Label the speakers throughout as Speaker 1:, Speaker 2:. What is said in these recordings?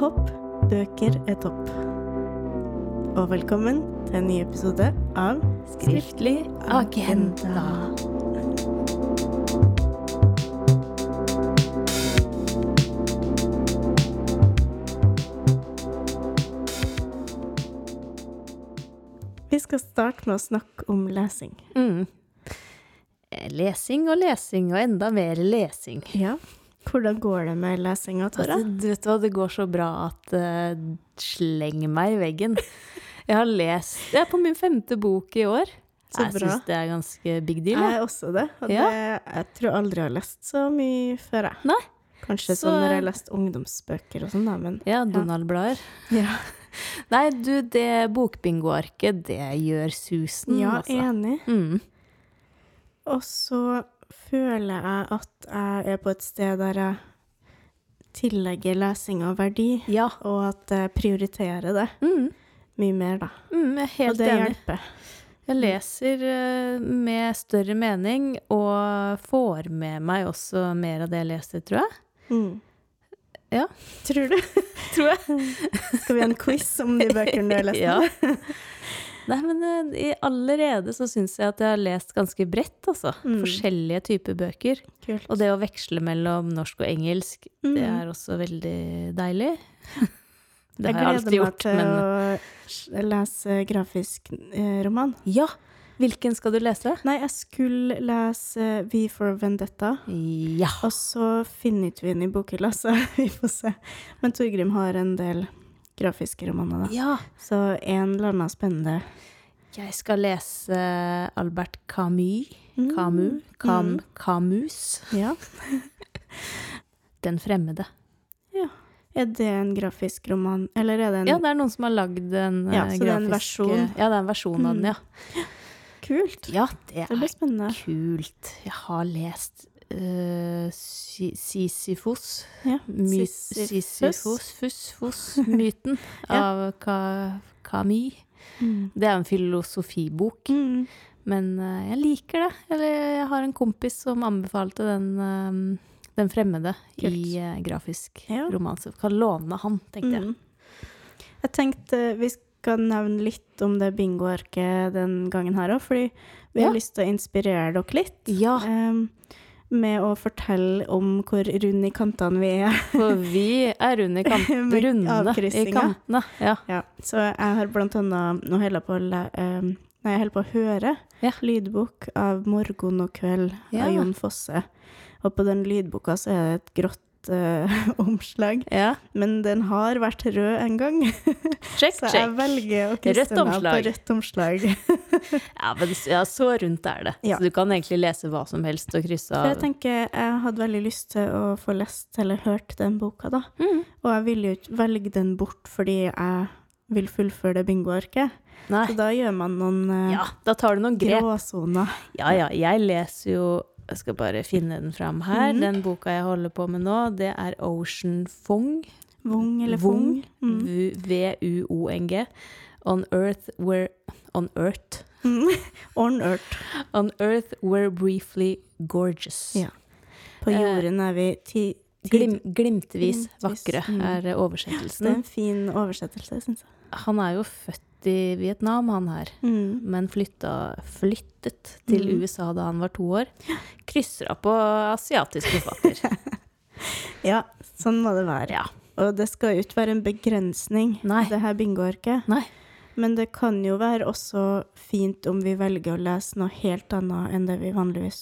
Speaker 1: hopp, bøker er topp. Og velkommen til en ny episode av Skriftlig agenda. Vi skal starte med å snakke om lesing.
Speaker 2: Mm. Eh, Lesing og lesing og enda mer lesing.
Speaker 1: Ja. Hvordan går det med lesinga, Tara?
Speaker 2: Altså, du vet hva, det går så bra at eh, sleng meg i veggen. Jeg har lest Jeg er på min femte bok i år.
Speaker 1: Så
Speaker 2: jeg
Speaker 1: bra.
Speaker 2: syns det er ganske big deal.
Speaker 1: Jeg
Speaker 2: Jeg.
Speaker 1: er også det. Og
Speaker 2: Ja.
Speaker 1: det, jeg tror aldri jeg har lest så mye før, jeg.
Speaker 2: Nei.
Speaker 1: Kanskje
Speaker 2: Så-
Speaker 1: sånn når jeg har lest ungdomsbøker og sånn, da, men
Speaker 2: Ja, Donald-blader.
Speaker 1: Ja,
Speaker 2: Nei, du, det bokbingoarket, det gjør susen, altså.
Speaker 1: enig. sånn,
Speaker 2: Mm.
Speaker 1: Og så føler jeg at jeg er på et sted der jeg tillegger lesinga verdi,
Speaker 2: Ja.
Speaker 1: og at jeg prioriterer det
Speaker 2: Mm.
Speaker 1: mye mer, da.
Speaker 2: Mm, jeg er
Speaker 1: og
Speaker 2: helt
Speaker 1: det
Speaker 2: enig.
Speaker 1: hjelper.
Speaker 2: Jeg leser eh, med større mening og får med meg også mer av det jeg leser, tror jeg.
Speaker 1: Mm.
Speaker 2: Ja.
Speaker 1: Tror du?
Speaker 2: Tror jeg.
Speaker 1: Skal vi ha en quiz om de bøkene du har lest?
Speaker 2: Ja. Nei, men eh, i- allerede så syns jeg at jeg har lest ganske bredt, altså.
Speaker 1: Mm.
Speaker 2: Forskjellige typer bøker.
Speaker 1: Kult.
Speaker 2: Og det å veksle mellom norsk og engelsk, det
Speaker 1: Mm.
Speaker 2: er også veldig deilig. Det
Speaker 1: Jeg
Speaker 2: har jeg
Speaker 1: gleder meg
Speaker 2: alltid gjort,
Speaker 1: til
Speaker 2: men
Speaker 1: å lese grafisk eh, roman.
Speaker 2: Ja! Hvilken skal du lese?
Speaker 1: Nei, jeg skulle lese V for Vendetta.
Speaker 2: Ja.
Speaker 1: Og så finner ikke vi den i bokhylla, så vi får se. Men Torgrim har en del grafiske romaner, da.
Speaker 2: Ja.
Speaker 1: Så en eller annen spennende
Speaker 2: Jeg skal lese Albert Camus.
Speaker 1: Mm.
Speaker 2: Camus. Cam,
Speaker 1: Mm.
Speaker 2: Camus.
Speaker 1: Ja.
Speaker 2: Den fremmede.
Speaker 1: Er det en grafisk roman, eller er det en
Speaker 2: Ja, det er noen som har lagd en
Speaker 1: Ja, så
Speaker 2: eh, grafisk
Speaker 1: det er en versjon.
Speaker 2: Ja, det er en versjon av den, ja.
Speaker 1: Kult!
Speaker 2: Ja, det
Speaker 1: Det blir
Speaker 2: er
Speaker 1: spennende.
Speaker 2: kult. Jeg har lest eh, Sy- Sisyfos.
Speaker 1: Ja.
Speaker 2: My-
Speaker 1: Sisyfus.
Speaker 2: Sisyfos, fuss, foss, myten av Ka Camus.
Speaker 1: Mm.
Speaker 2: Det er en filosofibok,
Speaker 1: Mm.
Speaker 2: men eh, jeg liker det. Eller jeg har en kompis som anbefalte den, eh, den fremmede i eh, grafisk
Speaker 1: Ja.
Speaker 2: roman, så jeg kan låne han, tenkte jeg.
Speaker 1: Mm. Jeg tenkte vi skal nevne litt om det bingoarket den gangen her òg, fordi vi har
Speaker 2: Ja.
Speaker 1: lyst til å inspirere dere litt.
Speaker 2: Ja,
Speaker 1: em, med å fortelle om hvor rund i kantene vi er.
Speaker 2: for vi er runde i kant,
Speaker 1: Med
Speaker 2: rundene i
Speaker 1: avkryssinga.
Speaker 2: kantene. Ja.
Speaker 1: Ja, så jeg har blant annet Nå holder jeg på å, le, eh, nei, jeg holder på å høre
Speaker 2: Ja.
Speaker 1: lydbok av 'Morgen og kveld'
Speaker 2: Ja.
Speaker 1: av Jon Fosse. Og på den lydboka så er det et grått eh, omslag,
Speaker 2: ja.
Speaker 1: men den har vært rød en gang,
Speaker 2: Check,
Speaker 1: så jeg
Speaker 2: check.
Speaker 1: velger å
Speaker 2: Rødt
Speaker 1: krysse den av på
Speaker 2: omslag.
Speaker 1: rødt omslag.
Speaker 2: Ja, men s- ja, så rundt er det.
Speaker 1: Ja.
Speaker 2: Så du kan egentlig lese hva som helst og krysse
Speaker 1: For jeg
Speaker 2: av.
Speaker 1: tenker jeg hadde veldig lyst til å få lest eller hørt den boka, da.
Speaker 2: Mm.
Speaker 1: Og jeg ville jo ikke velge den bort fordi jeg vil fullføre det bingoarket. Så
Speaker 2: Nei.
Speaker 1: da gjør man noen eh,
Speaker 2: Ja, da tar du noen grep.
Speaker 1: gråsoner.
Speaker 2: Ja, ja, jeg leser jo Jeg skal bare finne den fram her.
Speaker 1: Mhm.
Speaker 2: Den boka jeg holder på med nå, det er Ocean Fong.
Speaker 1: Vung eller
Speaker 2: Vung.
Speaker 1: fung. Mm.
Speaker 2: V- V-U-O-N-G. On earth where On earth.
Speaker 1: On earth.
Speaker 2: On earth were briefly gorgeous.
Speaker 1: Ja. På
Speaker 2: Eh,
Speaker 1: jorden er vi ti...
Speaker 2: mm.
Speaker 1: ti
Speaker 2: Glim, glimtvis
Speaker 1: Glimtvis,
Speaker 2: vakre
Speaker 1: mm.
Speaker 2: er
Speaker 1: det er
Speaker 2: oversettelsen.
Speaker 1: en fin oversettelse, syns jeg.
Speaker 2: Han er jo født i Vietnam, han her.
Speaker 1: Mm.
Speaker 2: men flytta, flyttet til
Speaker 1: Mhm.
Speaker 2: USA da han var to år. Krysser av på asiatisk forfatter.
Speaker 1: Ja, sånn må det være.
Speaker 2: Ja.
Speaker 1: Og det skal jo ikke være en begrensning,
Speaker 2: Nei.
Speaker 1: det her bingoarket.
Speaker 2: Nei.
Speaker 1: Men det kan jo være også fint om vi velger å lese noe helt annet enn det vi vanligvis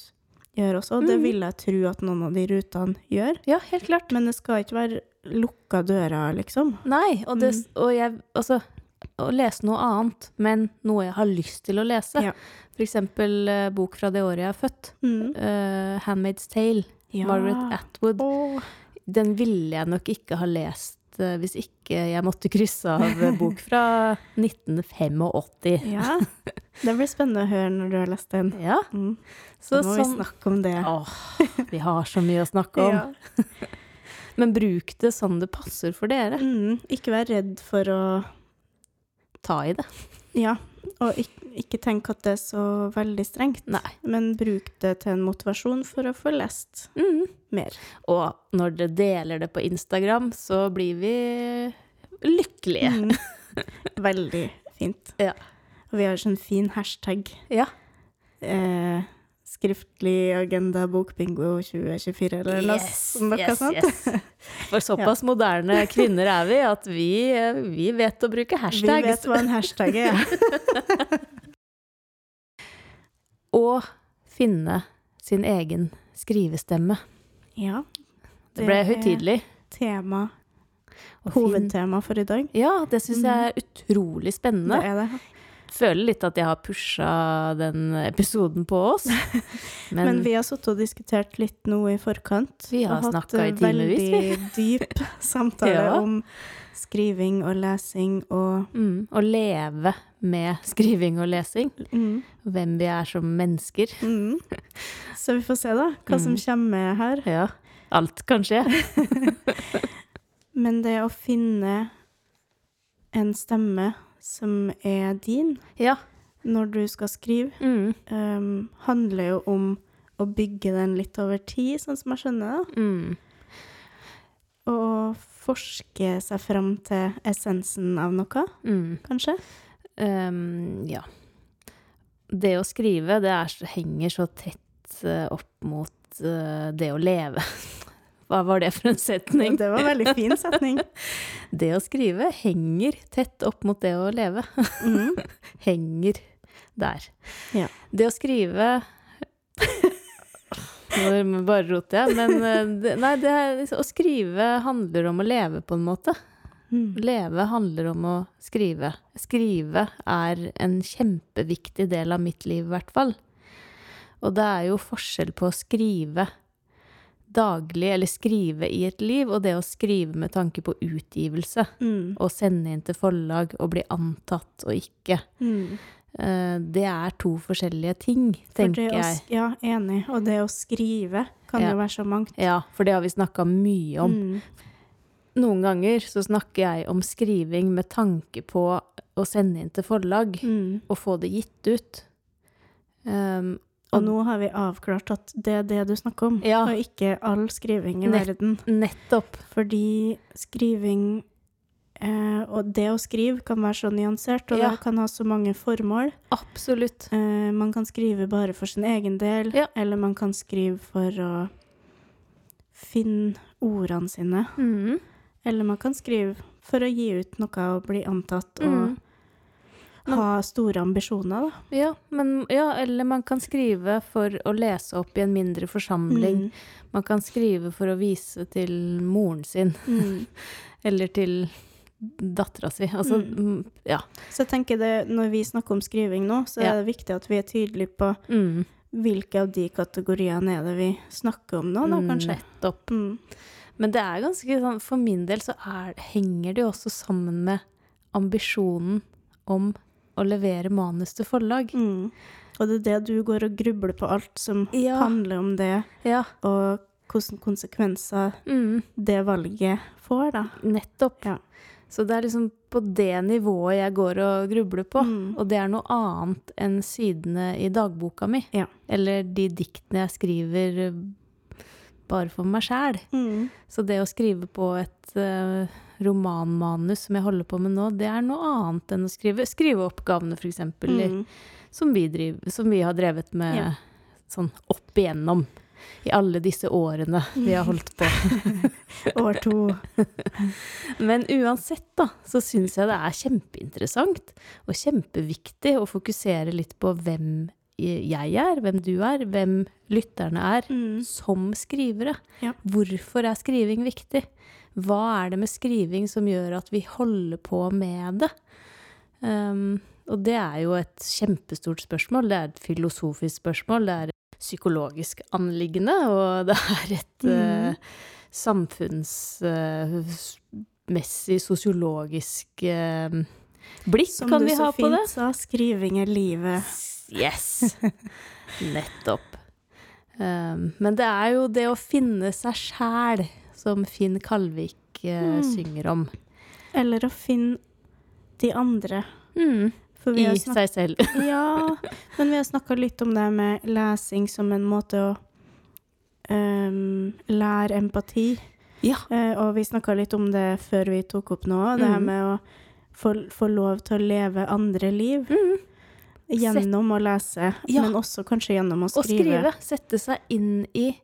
Speaker 1: gjør også. Og det
Speaker 2: Mhm.
Speaker 1: vil jeg tro at noen av de rutene gjør.
Speaker 2: Ja, helt klart.
Speaker 1: Men det skal ikke være lukka dører, liksom.
Speaker 2: Nei, og, det, og jeg Altså, å lese noe annet, men noe jeg har lyst til å lese.
Speaker 1: Ja.
Speaker 2: For eksempel eh, bok fra det året jeg er født.
Speaker 1: Mm.
Speaker 2: eh, 'Handmaid's Tale', Margaret Atwood.
Speaker 1: Åh.
Speaker 2: Den ville jeg nok ikke ha lest. eh, Hvis ikke jeg måtte krysse av eh, bok fra 1985.
Speaker 1: Ja. Det blir spennende å høre når du har lest den.
Speaker 2: Ja,
Speaker 1: Mm.
Speaker 2: så
Speaker 1: da må vi
Speaker 2: sånn
Speaker 1: snakke om det.
Speaker 2: Åh, vi har så mye å snakke om.
Speaker 1: Ja.
Speaker 2: Men bruk det sånn det passer for dere.
Speaker 1: Mm. Ikke vær redd for å
Speaker 2: Ta i det.
Speaker 1: Ja. Og ikke, ikke tenk at det er så veldig strengt,
Speaker 2: Nei.
Speaker 1: men bruk det til en motivasjon for å få lest
Speaker 2: Mm.
Speaker 1: mer.
Speaker 2: Og når dere deler det på Instagram, så blir vi lykkelige.
Speaker 1: Mm. Veldig fint.
Speaker 2: Ja.
Speaker 1: Og vi har sånn fin hashtag.
Speaker 2: Ja.
Speaker 1: Eh, skriftlig agenda bokbingo 2024 eller noe s- noe sånt.
Speaker 2: For såpass moderne kvinner er vi at vi, vi vet å bruke
Speaker 1: Vi vet
Speaker 2: hashtags.
Speaker 1: hva en hashtag er.
Speaker 2: Og finne sin egen skrivestemme.
Speaker 1: ja.
Speaker 2: Det ble
Speaker 1: er
Speaker 2: høytidelig.
Speaker 1: Tema,
Speaker 2: Og fin-
Speaker 1: hovedtema for i dag.
Speaker 2: Ja, det syns jeg er utrolig spennende.
Speaker 1: Mm. Det er det.
Speaker 2: Føler litt at jeg har pusha den episoden på oss. Men,
Speaker 1: Men vi har sittet og diskutert litt nå i forkant.
Speaker 2: Vi har
Speaker 1: og hatt
Speaker 2: snakket i
Speaker 1: en
Speaker 2: timevis,
Speaker 1: Veldig dyp samtale
Speaker 2: Ja.
Speaker 1: om skriving og lesing og
Speaker 2: mm, å leve med skriving og lesing,
Speaker 1: mm,
Speaker 2: hvem vi er som mennesker
Speaker 1: mm. Så vi får se, da, hva som
Speaker 2: Mm.
Speaker 1: kommer med her.
Speaker 2: Ja, alt kan skje.
Speaker 1: Men det å finne en stemme som er din
Speaker 2: Ja.
Speaker 1: når du skal skrive,
Speaker 2: Mm,
Speaker 1: ehm, handler jo om å bygge den litt over tid, sånn som jeg skjønner det.
Speaker 2: mm.
Speaker 1: Og å forske seg fram til essensen av noe,
Speaker 2: Mm.
Speaker 1: kanskje.
Speaker 2: Ehm, ja. Det å skrive, det er, så- henger så tett eh, opp mot eh, det å leve. Hva var det for en setning?
Speaker 1: Det var en veldig fin setning.
Speaker 2: Det å skrive henger tett opp mot det å leve.
Speaker 1: Mm.
Speaker 2: Henger der.
Speaker 1: Ja.
Speaker 2: Det å skrive Nå bare roter jeg, men eh, det, Nei, det er, liksom- å skrive handler om å leve, på en måte.
Speaker 1: Mm.
Speaker 2: Leve handler om å skrive. Skrive er en kjempeviktig del av mitt liv, i hvert fall. Og det er jo forskjell på å skrive daglig, eller skrive i et liv, og det å skrive med tanke på utgivelse.
Speaker 1: Mm.
Speaker 2: Og sende inn til forlag og bli antatt og ikke.
Speaker 1: Mm.
Speaker 2: Eh, Det er to forskjellige ting,
Speaker 1: For det
Speaker 2: tenker
Speaker 1: å
Speaker 2: jeg.
Speaker 1: sk- Ja, enig. Og det å skrive kan
Speaker 2: Ja.
Speaker 1: jo være så mangt.
Speaker 2: Ja, for det har vi snakka mye om.
Speaker 1: Mm.
Speaker 2: Noen ganger så snakker jeg om skriving med tanke på å sende inn til forlag.
Speaker 1: Mm.
Speaker 2: og få det gitt ut. Ehm,
Speaker 1: Og nå har vi avklart at det er det du snakker om,
Speaker 2: Ja.
Speaker 1: og ikke all skriving i
Speaker 2: Nett-
Speaker 1: verden.
Speaker 2: nettopp.
Speaker 1: Fordi skriving eh, og det å skrive kan være så nyansert, og
Speaker 2: Ja.
Speaker 1: det kan ha så mange formål.
Speaker 2: Absolutt.
Speaker 1: Eh, man kan skrive bare for sin egen del,
Speaker 2: Ja.
Speaker 1: eller man kan skrive for å finne ordene sine.
Speaker 2: Mm.
Speaker 1: Eller man kan skrive for å gi ut noe og bli antatt og
Speaker 2: Mm. Men-
Speaker 1: ha store ambisjoner, da.
Speaker 2: Ja, men, ja, eller man kan skrive for å lese opp i en mindre
Speaker 1: Mm.
Speaker 2: forsamling. Man kan skrive for å vise til moren sin,
Speaker 1: Mm. Mm.
Speaker 2: eller til dattera si. Altså, mm. ja.
Speaker 1: Så jeg tenker det, når vi snakker om skriving nå, så
Speaker 2: Ja.
Speaker 1: er det viktig at vi er tydelige på
Speaker 2: Mm.
Speaker 1: hvilke av de kategoriene er det vi snakker om nå, da, kanskje.
Speaker 2: Nettopp.
Speaker 1: Mm.
Speaker 2: Men det er ganske sånn For min del så er, henger det jo også sammen med ambisjonen om å levere manus til forlag.
Speaker 1: Mm. Og det er det du går og grubler på alt som
Speaker 2: Ja.
Speaker 1: handler om det,
Speaker 2: Ja.
Speaker 1: og hvilke konsekvenser
Speaker 2: Mm.
Speaker 1: det valget får, da.
Speaker 2: Nettopp.
Speaker 1: Ja.
Speaker 2: Så det er liksom på det nivået jeg går og grubler på.
Speaker 1: Mm.
Speaker 2: Og det er noe annet enn sidene i dagboka mi.
Speaker 1: Ja.
Speaker 2: Eller de diktene jeg skriver eh, bare for meg sjæl.
Speaker 1: Mm.
Speaker 2: Så det å skrive på et eh, romanmanus som jeg holder på med nå, det er noe annet enn å skrive skriveoppgavene, f.eks. Mm.
Speaker 1: Mm.
Speaker 2: Som, vi driver- som vi har drevet med
Speaker 1: Ja.
Speaker 2: sånn opp igjennom. I alle disse årene vi har holdt på.
Speaker 1: År to.
Speaker 2: Men uansett, da, så syns jeg det er kjempeinteressant og kjempeviktig å fokusere litt på hvem jeg er, hvem du er, hvem lytterne er,
Speaker 1: Mm.
Speaker 2: som skrivere.
Speaker 1: Ja.
Speaker 2: Hvorfor er skriving viktig? Hva er det med skriving som gjør at vi holder på med det? Um, og det er jo et kjempestort spørsmål. Det er et filosofisk spørsmål. Det er et psykologisk anliggende, og det er et eh,
Speaker 1: Mhm.
Speaker 2: samfunnsmessig, sosiologisk eh, blikk
Speaker 1: Som
Speaker 2: kan
Speaker 1: du
Speaker 2: vi
Speaker 1: så
Speaker 2: ha på det.
Speaker 1: fint sa, skriving er livet.
Speaker 2: Yes! Nettopp. Um, men det er jo det å finne seg sjæl, som Finn Kalvik eh,
Speaker 1: Mm.
Speaker 2: synger om.
Speaker 1: Eller å finne de andre. Mm. For vi
Speaker 2: I
Speaker 1: har snakket
Speaker 2: seg selv.
Speaker 1: Ja, men vi har snakka litt om det med lesing som en måte å um, lære empati.
Speaker 2: Ja.
Speaker 1: Eh, og vi snakka litt om det før vi tok opp nå, det her
Speaker 2: Mhm.
Speaker 1: med å få, få lov til å leve andre liv
Speaker 2: Mm.
Speaker 1: gjennom å lese,
Speaker 2: Ja.
Speaker 1: men også kanskje gjennom å
Speaker 2: Å
Speaker 1: skrive.
Speaker 2: skrive. Sette seg inn i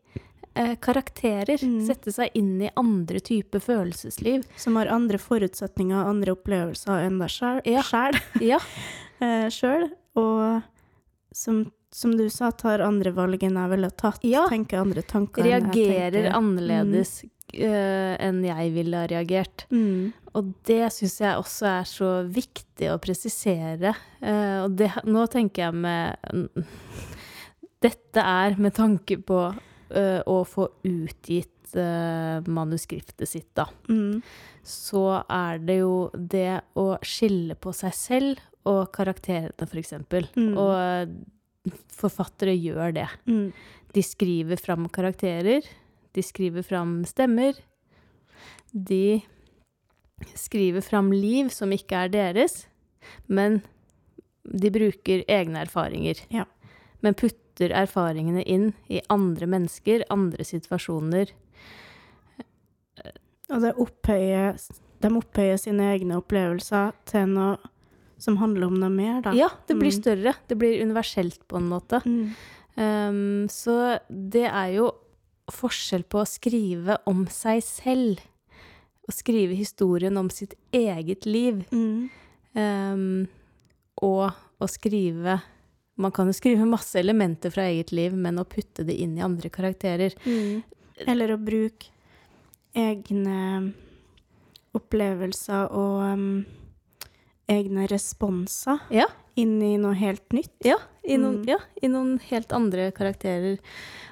Speaker 2: eh, karakterer.
Speaker 1: Mm.
Speaker 2: Sette seg inn i andre typer følelsesliv.
Speaker 1: Som har andre forutsetninger og andre opplevelser enn deg sjæl.
Speaker 2: Ja. Ja.
Speaker 1: eh, sjøl, og som, som du sa, tar andre valg enn jeg ville ha tatt.
Speaker 2: Ja.
Speaker 1: Tenker andre tanker enn jeg Mm.
Speaker 2: Reagerer
Speaker 1: tenker.
Speaker 2: annerledes eh, enn jeg ville ha reagert.
Speaker 1: Mm.
Speaker 2: Og det syns jeg også er så viktig å presisere. Eh, og det, nå tenker jeg med Dette er med tanke på eh, å få utgitt eh, manuskriptet sitt, da.
Speaker 1: Mm.
Speaker 2: Så er det jo det å skille på seg selv og karakterene, f.eks.
Speaker 1: Mm.
Speaker 2: Og eh, forfattere gjør det.
Speaker 1: Mm.
Speaker 2: De skriver fram karakterer. De skriver fram stemmer. De skriver fram liv som ikke er deres, men de bruker egne erfaringer.
Speaker 1: Ja.
Speaker 2: Men putter erfaringene inn i andre mennesker, andre situasjoner.
Speaker 1: Og det opphøyer, de opphøyer sine egne opplevelser til noe som handler om noe mer, da.
Speaker 2: Ja, det blir
Speaker 1: Mm.
Speaker 2: større. Det blir universelt på en måte.
Speaker 1: Mm.
Speaker 2: Um, så det er jo forskjell på å skrive om seg selv. Å skrive historien om sitt eget liv.
Speaker 1: Mm.
Speaker 2: Ehm, og å skrive Man kan jo skrive masse elementer fra eget liv, men å putte det inn i andre karakterer
Speaker 1: Mm. Eller å bruke egne opplevelser og um, egne responser
Speaker 2: Ja.
Speaker 1: inn i noe helt nytt.
Speaker 2: Ja, i noen,
Speaker 1: Mm.
Speaker 2: ja, i noen helt andre karakterer.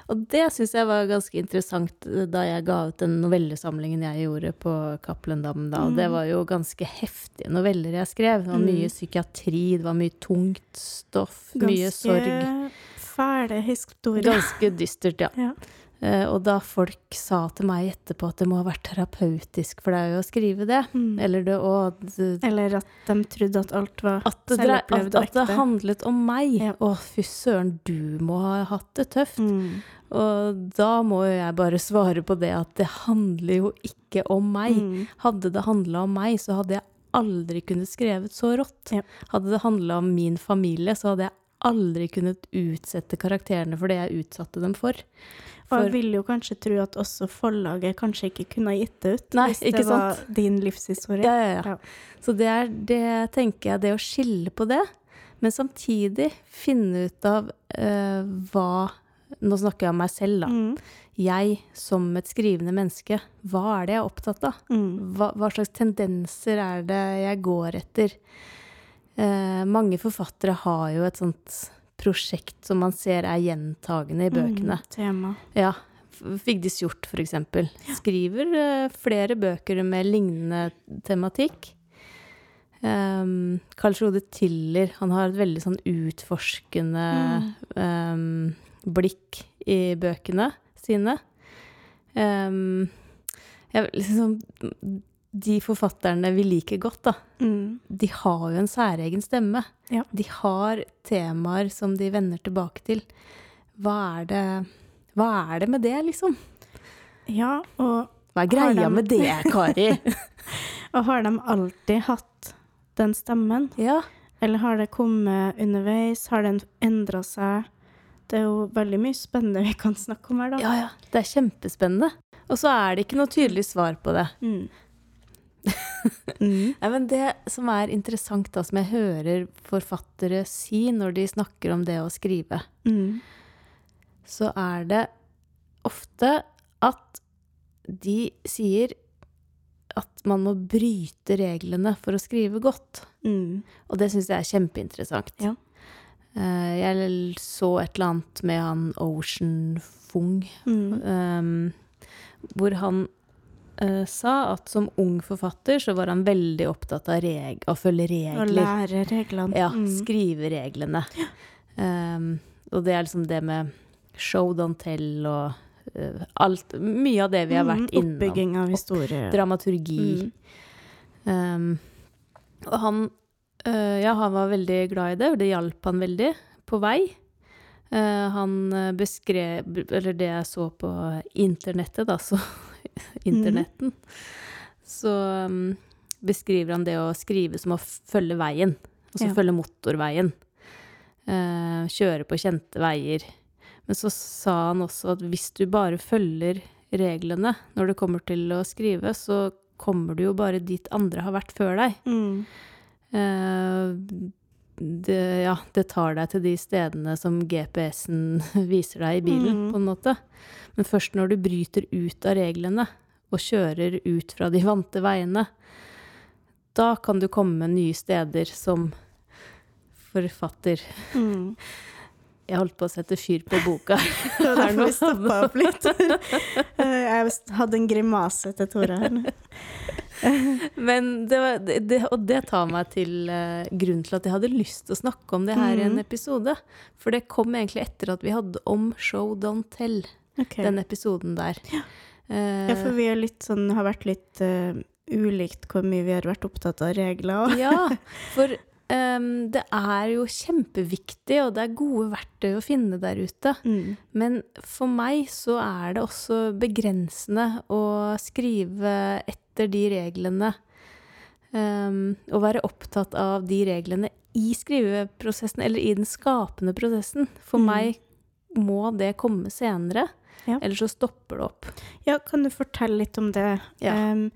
Speaker 2: Og det syns jeg var ganske interessant eh, da jeg ga ut den novellesamlingen jeg gjorde på Cappelen Dam da. Og Det
Speaker 1: Mm.
Speaker 2: var jo ganske heftige noveller jeg skrev. Det var
Speaker 1: Mm.
Speaker 2: mye psykiatri, det var mye tungt stoff, mye sorg.
Speaker 1: fæle historier.
Speaker 2: Ganske dystert, ja.
Speaker 1: Ja.
Speaker 2: Eh, og da folk sa til meg etterpå at det må ha vært terapeutisk for deg å skrive det,
Speaker 1: Mm.
Speaker 2: eller det å det-
Speaker 1: Eller at de trodde at alt var
Speaker 2: at det, drei-
Speaker 1: Selvopplevd
Speaker 2: at,
Speaker 1: og
Speaker 2: at det
Speaker 1: ekte.
Speaker 2: handlet om meg.
Speaker 1: Ja.
Speaker 2: Å, fy søren, du må ha hatt det tøft.
Speaker 1: mm.
Speaker 2: Og da må jo jeg bare svare på det at det handler jo ikke om meg.
Speaker 1: Mm.
Speaker 2: Hadde det handla om meg, så hadde jeg aldri kunnet skrevet så rått.
Speaker 1: Ja.
Speaker 2: Hadde det handla om min familie, så hadde jeg aldri kunnet utsette karakterene for det jeg utsatte dem for.
Speaker 1: Og jeg
Speaker 2: For-
Speaker 1: vil jo kanskje tro at også forlaget kanskje ikke kunne ha gitt det ut
Speaker 2: Nei,
Speaker 1: hvis det
Speaker 2: ikke
Speaker 1: var
Speaker 2: sant?
Speaker 1: din livshistorie.
Speaker 2: Ja, ja, ja.
Speaker 1: Ja.
Speaker 2: Så det er det, tenker jeg, det å skille på det, men samtidig finne ut av eh, hva Nå snakker jeg om meg selv, da.
Speaker 1: Mm.
Speaker 2: Jeg som et skrivende menneske, hva er det jeg er opptatt av?
Speaker 1: Mm.
Speaker 2: Hva, hva slags tendenser er det jeg går etter? Eh, mange forfattere har jo et sånt prosjekt som man ser er gjentagende i bøkene.
Speaker 1: Mm. Tema.
Speaker 2: Ja. F- Vigdis Hjorth, for eksempel. Skriver eh, flere bøker med lignende tematikk. Um, Carl Frode Tiller, han har et veldig sånn utforskende ehm, blikk i bøkene sine. Ehm, jeg, vil liksom, de forfatterne vi liker godt, da,
Speaker 1: Mm.
Speaker 2: de har jo en særegen stemme.
Speaker 1: Ja.
Speaker 2: De har temaer som de vender tilbake til. Hva er det, hva er det med det, liksom?
Speaker 1: Ja, og
Speaker 2: Hva er
Speaker 1: Har
Speaker 2: greia
Speaker 1: dem-
Speaker 2: med det, Kari?
Speaker 1: Og har de alltid hatt den stemmen,
Speaker 2: ja.
Speaker 1: eller har det kommet underveis? Har den endra seg? Det er jo veldig mye spennende vi kan snakke om her, da.
Speaker 2: ja, ja. Det er kjempespennende. Og så er det ikke noe tydelig svar på det.
Speaker 1: Mm. Mm.
Speaker 2: Nei, men Det som er interessant, da, som jeg hører forfattere si når de snakker om det å skrive,
Speaker 1: Mm.
Speaker 2: så er det ofte at de sier at man må bryte reglene for å skrive godt.
Speaker 1: Mm.
Speaker 2: Og det syns jeg er kjempeinteressant.
Speaker 1: Ja.
Speaker 2: Eh, Jeg l- så et eller annet med han Ocean Fung,
Speaker 1: Mm.
Speaker 2: ehm, hvor han eh, sa at som ung forfatter så var han veldig opptatt av, reg av å følge
Speaker 1: Å
Speaker 2: regler.
Speaker 1: lære reglene.
Speaker 2: Ja,
Speaker 1: Mm.
Speaker 2: skrive reglene. Ehm, og det er liksom det med show don't tell og eh, alt Mye av det vi har vært
Speaker 1: Mm,
Speaker 2: innom.
Speaker 1: Oppbygging av historie.
Speaker 2: Dramaturgi.
Speaker 1: Mm.
Speaker 2: Um, og eh, han, øh, ja, han var veldig glad i det, og det hjalp han veldig på vei. Eh, han eh, beskrev Eller det jeg så på internettet, da, så Internetten. Så mm, beskriver han det å skrive som å følge veien. Altså
Speaker 1: Ja.
Speaker 2: følge motorveien. Eh, kjøre på kjente veier. Men så sa han også at hvis du bare følger reglene når det kommer til å skrive, så kommer du jo bare dit andre har vært før deg.
Speaker 1: Mm.
Speaker 2: Eh, det, ja, det tar deg til de stedene som GPS-en viser deg i bilen,
Speaker 1: Mm.
Speaker 2: på en måte. Men først når du bryter ut av reglene og kjører ut fra de vante veiene, da kan du komme nye steder som forfatter.
Speaker 1: Mm.
Speaker 2: Jeg holdt på å sette fyr på boka.
Speaker 1: Det var
Speaker 2: Er det
Speaker 1: derfor vi
Speaker 2: noe
Speaker 1: stoppa opp litt. Eh, Jeg hadde en grimase til Tore her.
Speaker 2: Men det, var- det, det- og det tar meg til eh, grunnen til at jeg hadde lyst til å snakke om det her i en
Speaker 1: Mhm.
Speaker 2: episode. For det kom egentlig etter at vi hadde om Show Don't Tell,
Speaker 1: Ok.
Speaker 2: den episoden der. Eh,
Speaker 1: Ja, for vi er litt sånn, har vært litt eh, ulikt hvor mye vi har vært opptatt av regler. Og.
Speaker 2: ja, for em, det er jo kjempeviktig, og det er gode verktøy å finne der ute.
Speaker 1: Mm.
Speaker 2: Men for meg så er det også begrensende å skrive etter de reglene. Um, å være opptatt av de reglene i skriveprosessen, eller i den skapende prosessen. For
Speaker 1: Mm.
Speaker 2: meg må det komme senere,
Speaker 1: Ja.
Speaker 2: ellers så stopper det opp.
Speaker 1: Ja, kan du fortelle litt om det?
Speaker 2: Ja.
Speaker 1: Em,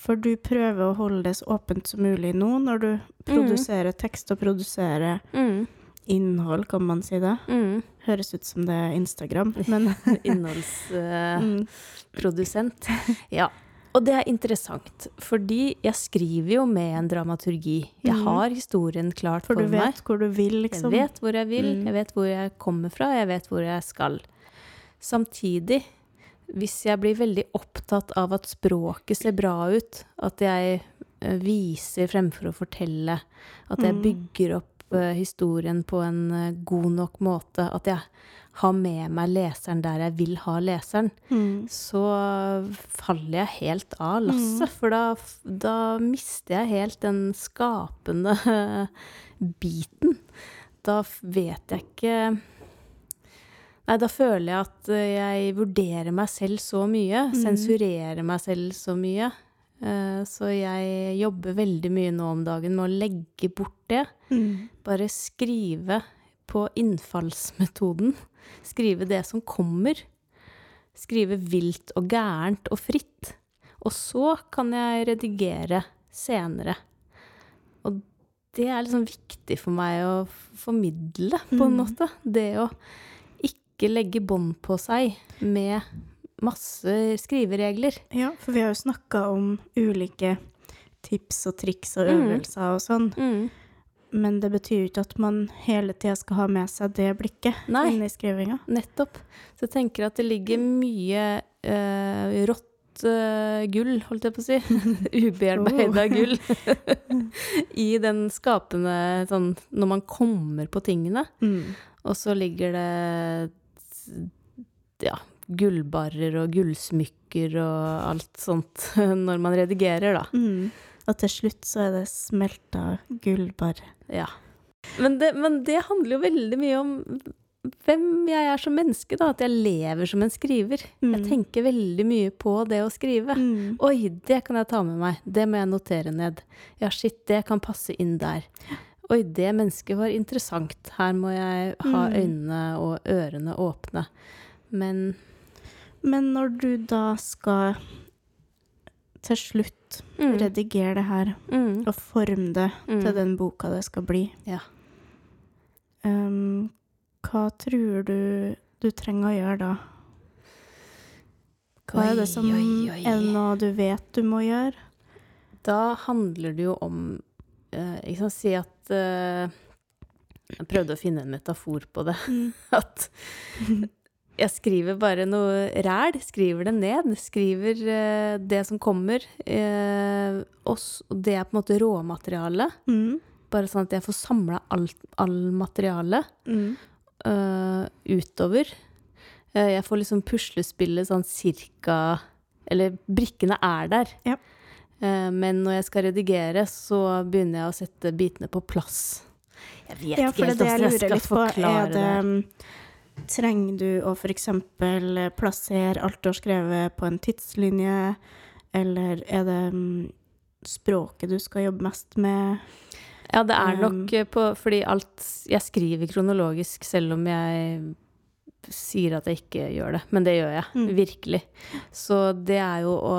Speaker 1: for du prøver å holde det så åpent som mulig nå, når du produserer tekst og produserer
Speaker 2: Mm.
Speaker 1: innhold, kan man si det.
Speaker 2: Mm.
Speaker 1: Høres ut som det er Instagram, men
Speaker 2: Innholdsprodusent.
Speaker 1: mm,
Speaker 2: ja. Og det er interessant, fordi jeg skriver jo med en dramaturgi. Jeg
Speaker 1: Mhm.
Speaker 2: har historien klart
Speaker 1: For
Speaker 2: for
Speaker 1: du
Speaker 2: meg.
Speaker 1: vet hvor du vil, liksom.
Speaker 2: Jeg vet hvor jeg vil,
Speaker 1: Mm.
Speaker 2: jeg vet hvor jeg kommer fra, jeg vet hvor jeg skal. Samtidig, hvis jeg blir veldig opptatt av at språket ser bra ut, at jeg eh, viser fremfor å fortelle, at jeg
Speaker 1: Mm.
Speaker 2: bygger opp eh, historien på en eh, god nok måte, at jeg har med meg leseren der jeg vil ha leseren,
Speaker 1: Mm.
Speaker 2: så faller jeg helt av lasset.
Speaker 1: Mm.
Speaker 2: For da, f- da mister jeg helt den skapende biten. Da f- vet jeg ikke Nei, da føler jeg at eh, jeg vurderer meg selv så mye.
Speaker 1: Mm.
Speaker 2: Sensurerer meg selv så mye. Eh, Så jeg jobber veldig mye nå om dagen med å legge bort det
Speaker 1: Mm.
Speaker 2: bare skrive på innfallsmetoden. Skrive det som kommer. Skrive vilt og gærent og fritt. Og så kan jeg redigere senere. Og det er liksom viktig for meg å f- formidle, på en
Speaker 1: Mm.
Speaker 2: måte. Det å ikke legge bånd på seg med masse skriveregler.
Speaker 1: Ja, for vi har jo snakka om ulike tips og triks og
Speaker 2: Mm.
Speaker 1: øvelser og sånn, men det betyr jo ikke at man hele tida skal ha med seg det blikket
Speaker 2: Nei.
Speaker 1: inni skrivinga.
Speaker 2: Nettopp. Så jeg tenker at det ligger mye eh, rått eh, gull, holdt jeg på å si. Ubearbeida gull. I den skapende sånn når man kommer på tingene.
Speaker 1: Mm.
Speaker 2: Og så ligger det ja, gullbarrer og gullsmykker og alt sånt når man redigerer, da.
Speaker 1: Mm. Og til slutt så er det smelta gull, bare.
Speaker 2: Ja. Men det, men det handler jo veldig mye om hvem jeg er som menneske, da. At jeg lever som en skriver. Jeg
Speaker 1: Mm.
Speaker 2: tenker veldig mye på det å skrive.
Speaker 1: Mm.
Speaker 2: Oi, det kan jeg ta med meg. Det må jeg notere ned. Ja, shit, det kan passe inn der. Oi, det mennesket var interessant. Her må jeg ha
Speaker 1: Mm.
Speaker 2: øynene og ørene åpne. Men
Speaker 1: Men når du da skal til slutt
Speaker 2: mm,
Speaker 1: redigere det her
Speaker 2: mm,
Speaker 1: og forme det
Speaker 2: mm.
Speaker 1: til den boka det skal bli,
Speaker 2: Ja.
Speaker 1: Ehm, hva tror du du trenger å gjøre da? Hva er det som
Speaker 2: Oi, oi, oi.
Speaker 1: Er det noe du vet du må gjøre?
Speaker 2: Da handler det jo om eh, Ikke sant, si at eh, Jeg prøvde å finne en metafor på det. At jeg skriver bare noe ræl. Skriver det ned. Skriver eh, det som kommer. eh, og s- og det er på en måte råmaterialet.
Speaker 1: Mm.
Speaker 2: Bare sånn at jeg får samla alt all materialet
Speaker 1: Mm.
Speaker 2: eh, utover. Eh, jeg får liksom puslespillet sånn cirka Eller brikkene er der.
Speaker 1: Ja.
Speaker 2: Eh, men når jeg skal redigere, så begynner jeg å sette bitene på plass. Jeg vet
Speaker 1: Ja,
Speaker 2: ikke
Speaker 1: for det
Speaker 2: helt
Speaker 1: er det jeg
Speaker 2: hvordan jeg
Speaker 1: lurer
Speaker 2: skal
Speaker 1: litt på.
Speaker 2: forklare
Speaker 1: Er
Speaker 2: det.
Speaker 1: det mm, Trenger du å f.eks. plassere alt du har skrevet på en tidslinje, eller er det mm, språket du skal jobbe mest med?
Speaker 2: Ja, det er
Speaker 1: Um,
Speaker 2: nok eh, på Fordi alt Jeg skriver kronologisk selv om jeg sier at jeg ikke gjør det. Men det gjør jeg.
Speaker 1: Mm.
Speaker 2: Virkelig. Så det er jo å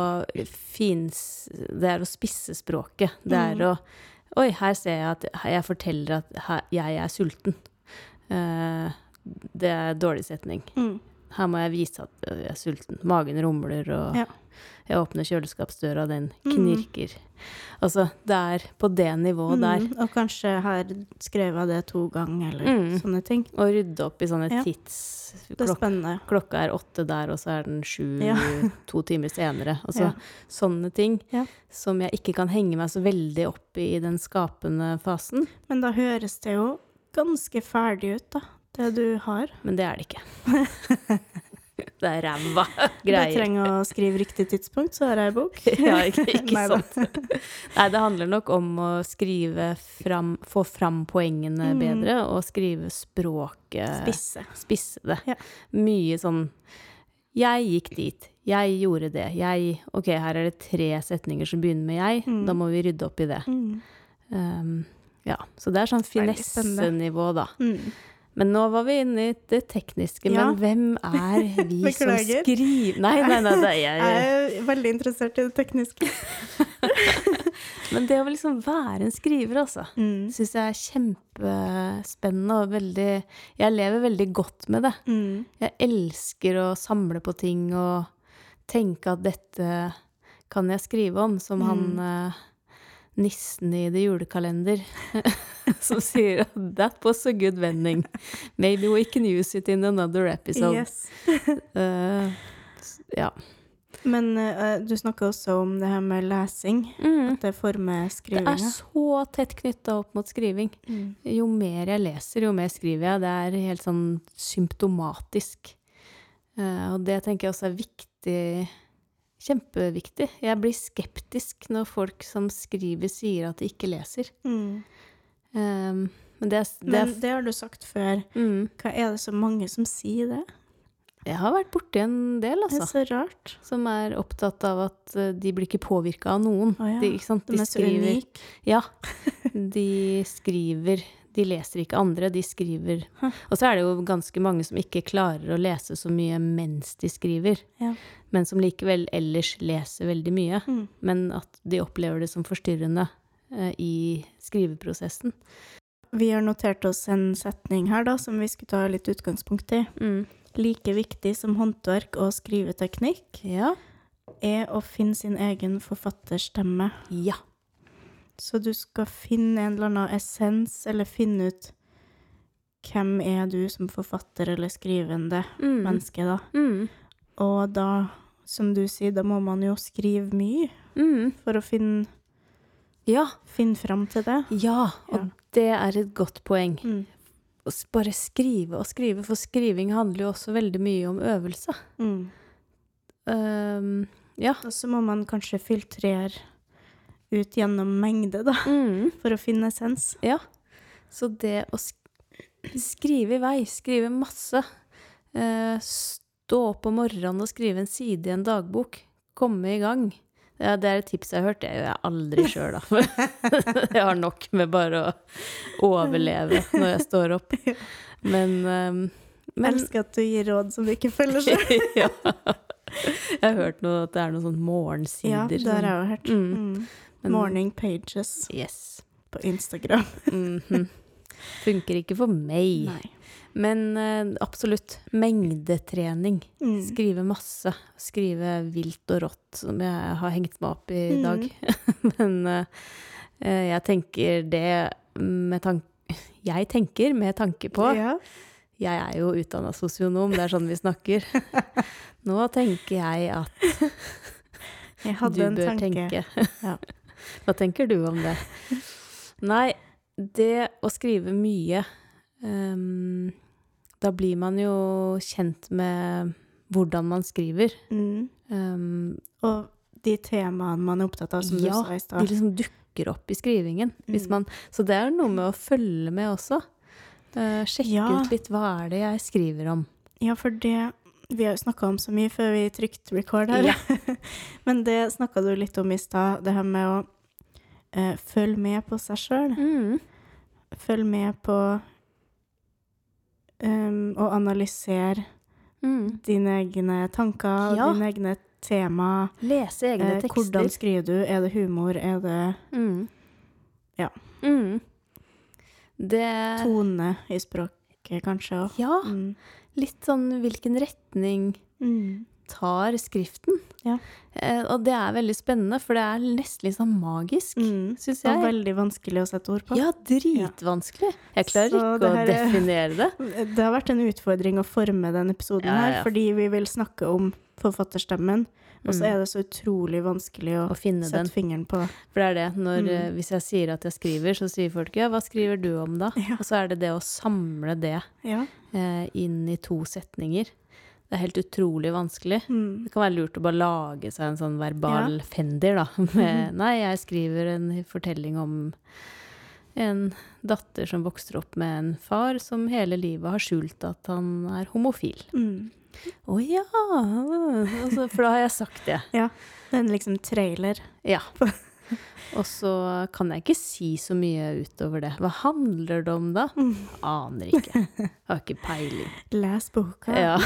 Speaker 2: fins... Det er å spisse språket. Det er
Speaker 1: Mm.
Speaker 2: å Oi, her ser jeg at jeg forteller at her, jeg er sulten. Eh, det er en dårlig setning.
Speaker 1: Mm.
Speaker 2: Her må jeg vise at jeg er sulten. Magen rumler, og
Speaker 1: Ja.
Speaker 2: jeg åpner kjøleskapsdøra, den
Speaker 1: Mhm.
Speaker 2: knirker. Altså, det er på det nivået der.
Speaker 1: Mm, og kanskje har skrevet det to ganger, eller
Speaker 2: Mm.
Speaker 1: sånne ting.
Speaker 2: Å rydde opp i sånne
Speaker 1: Ja.
Speaker 2: tids...
Speaker 1: Det er
Speaker 2: Klok
Speaker 1: spennende.
Speaker 2: klokka er åtte der, og så er den sju
Speaker 1: Ja.
Speaker 2: to timer senere. Altså
Speaker 1: Ja.
Speaker 2: sånne ting
Speaker 1: Ja.
Speaker 2: som jeg ikke kan henge meg så veldig opp i i den skapende fasen.
Speaker 1: Men da høres det jo ganske ferdig ut, da. Det du har.
Speaker 2: Men det er det ikke. det er ræva
Speaker 1: Du
Speaker 2: greier.
Speaker 1: trenger å skrive riktig tidspunkt, så har jeg ei bok.
Speaker 2: Ja, ikke, ikke
Speaker 1: Neida.
Speaker 2: sant. Nei, det handler nok om å skrive fram Få fram poengene
Speaker 1: Mm.
Speaker 2: bedre, og skrive språket
Speaker 1: Spisse.
Speaker 2: spisse det.
Speaker 1: Ja.
Speaker 2: Mye sånn Jeg gikk dit. Jeg gjorde det. Jeg Ok, her er det tre setninger som begynner med jeg.
Speaker 1: Mm.
Speaker 2: Da må vi rydde opp i det.
Speaker 1: Mm.
Speaker 2: Um, ja, så det er sånn
Speaker 1: Veldig spennende.
Speaker 2: finessenivå, da.
Speaker 1: Mm.
Speaker 2: Men nå var vi inne i det tekniske.
Speaker 1: Ja.
Speaker 2: Men hvem er vi som
Speaker 1: Beklager.
Speaker 2: skriver Nei, nei, nei, det er jeg.
Speaker 1: Jeg er veldig interessert i det tekniske.
Speaker 2: Men det å liksom være en skriver, altså.
Speaker 1: Mm.
Speaker 2: Syns jeg er kjempespennende og veldig Jeg lever veldig godt med det.
Speaker 1: Mm.
Speaker 2: Jeg elsker å samle på ting og tenke at dette kan jeg skrive om, som han eh, nissen i The Julekalender, som sier at 'that was a good vending'. 'Maybe we can use it in another episode'.
Speaker 1: Yes.
Speaker 2: Eh, s- ja.
Speaker 1: Men eh, du snakker også om det her med lesing. At det former
Speaker 2: Mm. Det
Speaker 1: skrivinga.
Speaker 2: er så tett knytta opp mot skriving.
Speaker 1: Mm.
Speaker 2: Jo mer jeg leser, jo mer skriver jeg. Det er helt sånn symptomatisk. Eh, og det tenker jeg også er viktig. Kjempeviktig. Jeg blir skeptisk når folk som skriver, sier at de ikke leser.
Speaker 1: Mm.
Speaker 2: Eh, men det, er- det,
Speaker 1: Men
Speaker 2: er-
Speaker 1: det har du sagt før.
Speaker 2: mm,
Speaker 1: Hva er det så mange som sier det?
Speaker 2: Jeg har vært borti en del,
Speaker 1: Det er
Speaker 2: altså.
Speaker 1: så rart.
Speaker 2: Som er opptatt av at eh, de blir ikke påvirka av noen.
Speaker 1: Å ja.
Speaker 2: de, ikke sant?
Speaker 1: De
Speaker 2: de
Speaker 1: er så
Speaker 2: skriver
Speaker 1: unike.
Speaker 2: Ja. De skriver De leser ikke andre, de skriver.
Speaker 1: Hæ.
Speaker 2: Og så er det jo ganske mange som ikke klarer å lese så mye mens de skriver,
Speaker 1: Ja.
Speaker 2: men som likevel ellers leser veldig mye.
Speaker 1: Mm.
Speaker 2: Men at de opplever det som forstyrrende eh, i skriveprosessen.
Speaker 1: Vi har notert oss en setning her da, som vi skulle ta litt utgangspunkt i.
Speaker 2: Mm.
Speaker 1: Like viktig som håndverk og skriveteknikk
Speaker 2: Ja.
Speaker 1: er å finne sin egen forfatterstemme.
Speaker 2: ja.
Speaker 1: Så du skal finne en eller annen essens, eller finne ut hvem er du som forfatter eller skrivende
Speaker 2: Mm.
Speaker 1: menneske, da.
Speaker 2: Mm.
Speaker 1: Og da, som du sier, da må man jo skrive mye
Speaker 2: Mm.
Speaker 1: for å finne,
Speaker 2: ja.
Speaker 1: finne fram til det.
Speaker 2: Ja. Og
Speaker 1: Ja.
Speaker 2: det er et godt poeng.
Speaker 1: Mm.
Speaker 2: Å s- Bare skrive og skrive, for skriving handler jo også veldig mye om øvelse.
Speaker 1: Mm.
Speaker 2: Um, ja.
Speaker 1: Og så må man kanskje filtrere ut gjennom mengde, da,
Speaker 2: Mm.
Speaker 1: for å finne essens.
Speaker 2: Ja. Så det å sk skrive i vei, skrive masse eh, Stå opp om morgenen og skrive en side i en dagbok. Komme i gang. Ja, det er et tips jeg har hørt. Det gjør jeg aldri sjøl, da. jeg har nok med bare å overleve når jeg står opp. Men, eh,
Speaker 1: Jeg
Speaker 2: men
Speaker 1: elsker at du gir råd som du ikke følger selv.
Speaker 2: ja. Jeg har hørt noe, at det er noen sånn morgensider.
Speaker 1: Ja, det har jeg jo hørt.
Speaker 2: Mm.
Speaker 1: Mm.
Speaker 2: Men-
Speaker 1: Morning pages
Speaker 2: sånn. Yes.
Speaker 1: på Instagram.
Speaker 2: Mhm. Funker ikke for meg. Men eh, absolutt. Mengdetrening.
Speaker 1: Mm.
Speaker 2: Skrive masse. Skrive vilt og rått, som jeg har hengt meg opp i i
Speaker 1: Mm.
Speaker 2: dag. Men eh, eh, jeg tenker det med tanke Jeg tenker med tanke på
Speaker 1: Ja.
Speaker 2: Jeg er jo utdanna sosionom, det er sånn vi snakker. Nå tenker jeg at
Speaker 1: Jeg hadde
Speaker 2: du
Speaker 1: en
Speaker 2: bør
Speaker 1: tanke.
Speaker 2: tenke.
Speaker 1: Ja.
Speaker 2: Hva tenker du om det? Nei, det å skrive mye ehm, Da blir man jo kjent med hvordan man skriver.
Speaker 1: Mm.
Speaker 2: Ehm,
Speaker 1: Og de temaene man er opptatt av, som
Speaker 2: Ja,
Speaker 1: du sa i
Speaker 2: de
Speaker 1: stad.
Speaker 2: liksom dukker dukker opp i skrivingen. Hvis
Speaker 1: Mm.
Speaker 2: man, så det er noe med å følge med også. Eh, sjekke
Speaker 1: Ja.
Speaker 2: ut litt hva er det jeg skriver om.
Speaker 1: Ja, for det Vi har jo snakka om så mye før vi trykte record her. Men det snakka du litt om i stad, det her med å eh, følge med på seg sjøl.
Speaker 2: Mm.
Speaker 1: Følge med på em, å analysere
Speaker 2: Mm.
Speaker 1: dine egne tanker,
Speaker 2: Ja.
Speaker 1: dine egne tema.
Speaker 2: Lese egne
Speaker 1: Eh,
Speaker 2: tekster.
Speaker 1: hvordan skriver du? Er det humor? Er det
Speaker 2: Mm.
Speaker 1: Ja.
Speaker 2: Mm. Det
Speaker 1: tone i språket, kanskje? også?
Speaker 2: Eh. Ja,
Speaker 1: Mm.
Speaker 2: litt sånn hvilken retning
Speaker 1: Mm.
Speaker 2: tar skriften?
Speaker 1: Ja.
Speaker 2: Eh, og det er veldig spennende, for det er nesten litt sånn magisk,
Speaker 1: Mm.
Speaker 2: syns
Speaker 1: Det var
Speaker 2: jeg.
Speaker 1: veldig vanskelig å sette ord på.
Speaker 2: Ja, dritvanskelig. Jeg klarer
Speaker 1: Så
Speaker 2: ikke
Speaker 1: det
Speaker 2: å
Speaker 1: her er-
Speaker 2: definere det.
Speaker 1: Det har vært en utfordring å forme denne episoden
Speaker 2: Ja, ja, ja.
Speaker 1: her, fordi vi vil snakke om forfatterstemmen, og så
Speaker 2: Mm.
Speaker 1: er det så utrolig vanskelig å
Speaker 2: Å finne
Speaker 1: sette
Speaker 2: den.
Speaker 1: fingeren på.
Speaker 2: For det er det. Når,
Speaker 1: Mm.
Speaker 2: eh, Hvis jeg sier at jeg skriver, så sier folk ja, hva skriver du om da?
Speaker 1: Ja.
Speaker 2: Og så er det det å samle det
Speaker 1: Ja.
Speaker 2: eh, inn i to setninger. Det er helt utrolig vanskelig.
Speaker 1: Mm.
Speaker 2: Det kan være lurt å bare lage seg en sånn verbal fender, da. Med, nei, jeg skriver en fortelling om en datter som vokser opp med en far som hele livet har skjult at han er homofil.
Speaker 1: Mm.
Speaker 2: Å ja! Altså, for da har jeg sagt det.
Speaker 1: ja. Det er en liksom trailer.
Speaker 2: Ja. Og så kan jeg ikke si så mye utover det. Hva handler det om da? Aner ikke. Har ikke peiling.
Speaker 1: Les boka.
Speaker 2: Ja.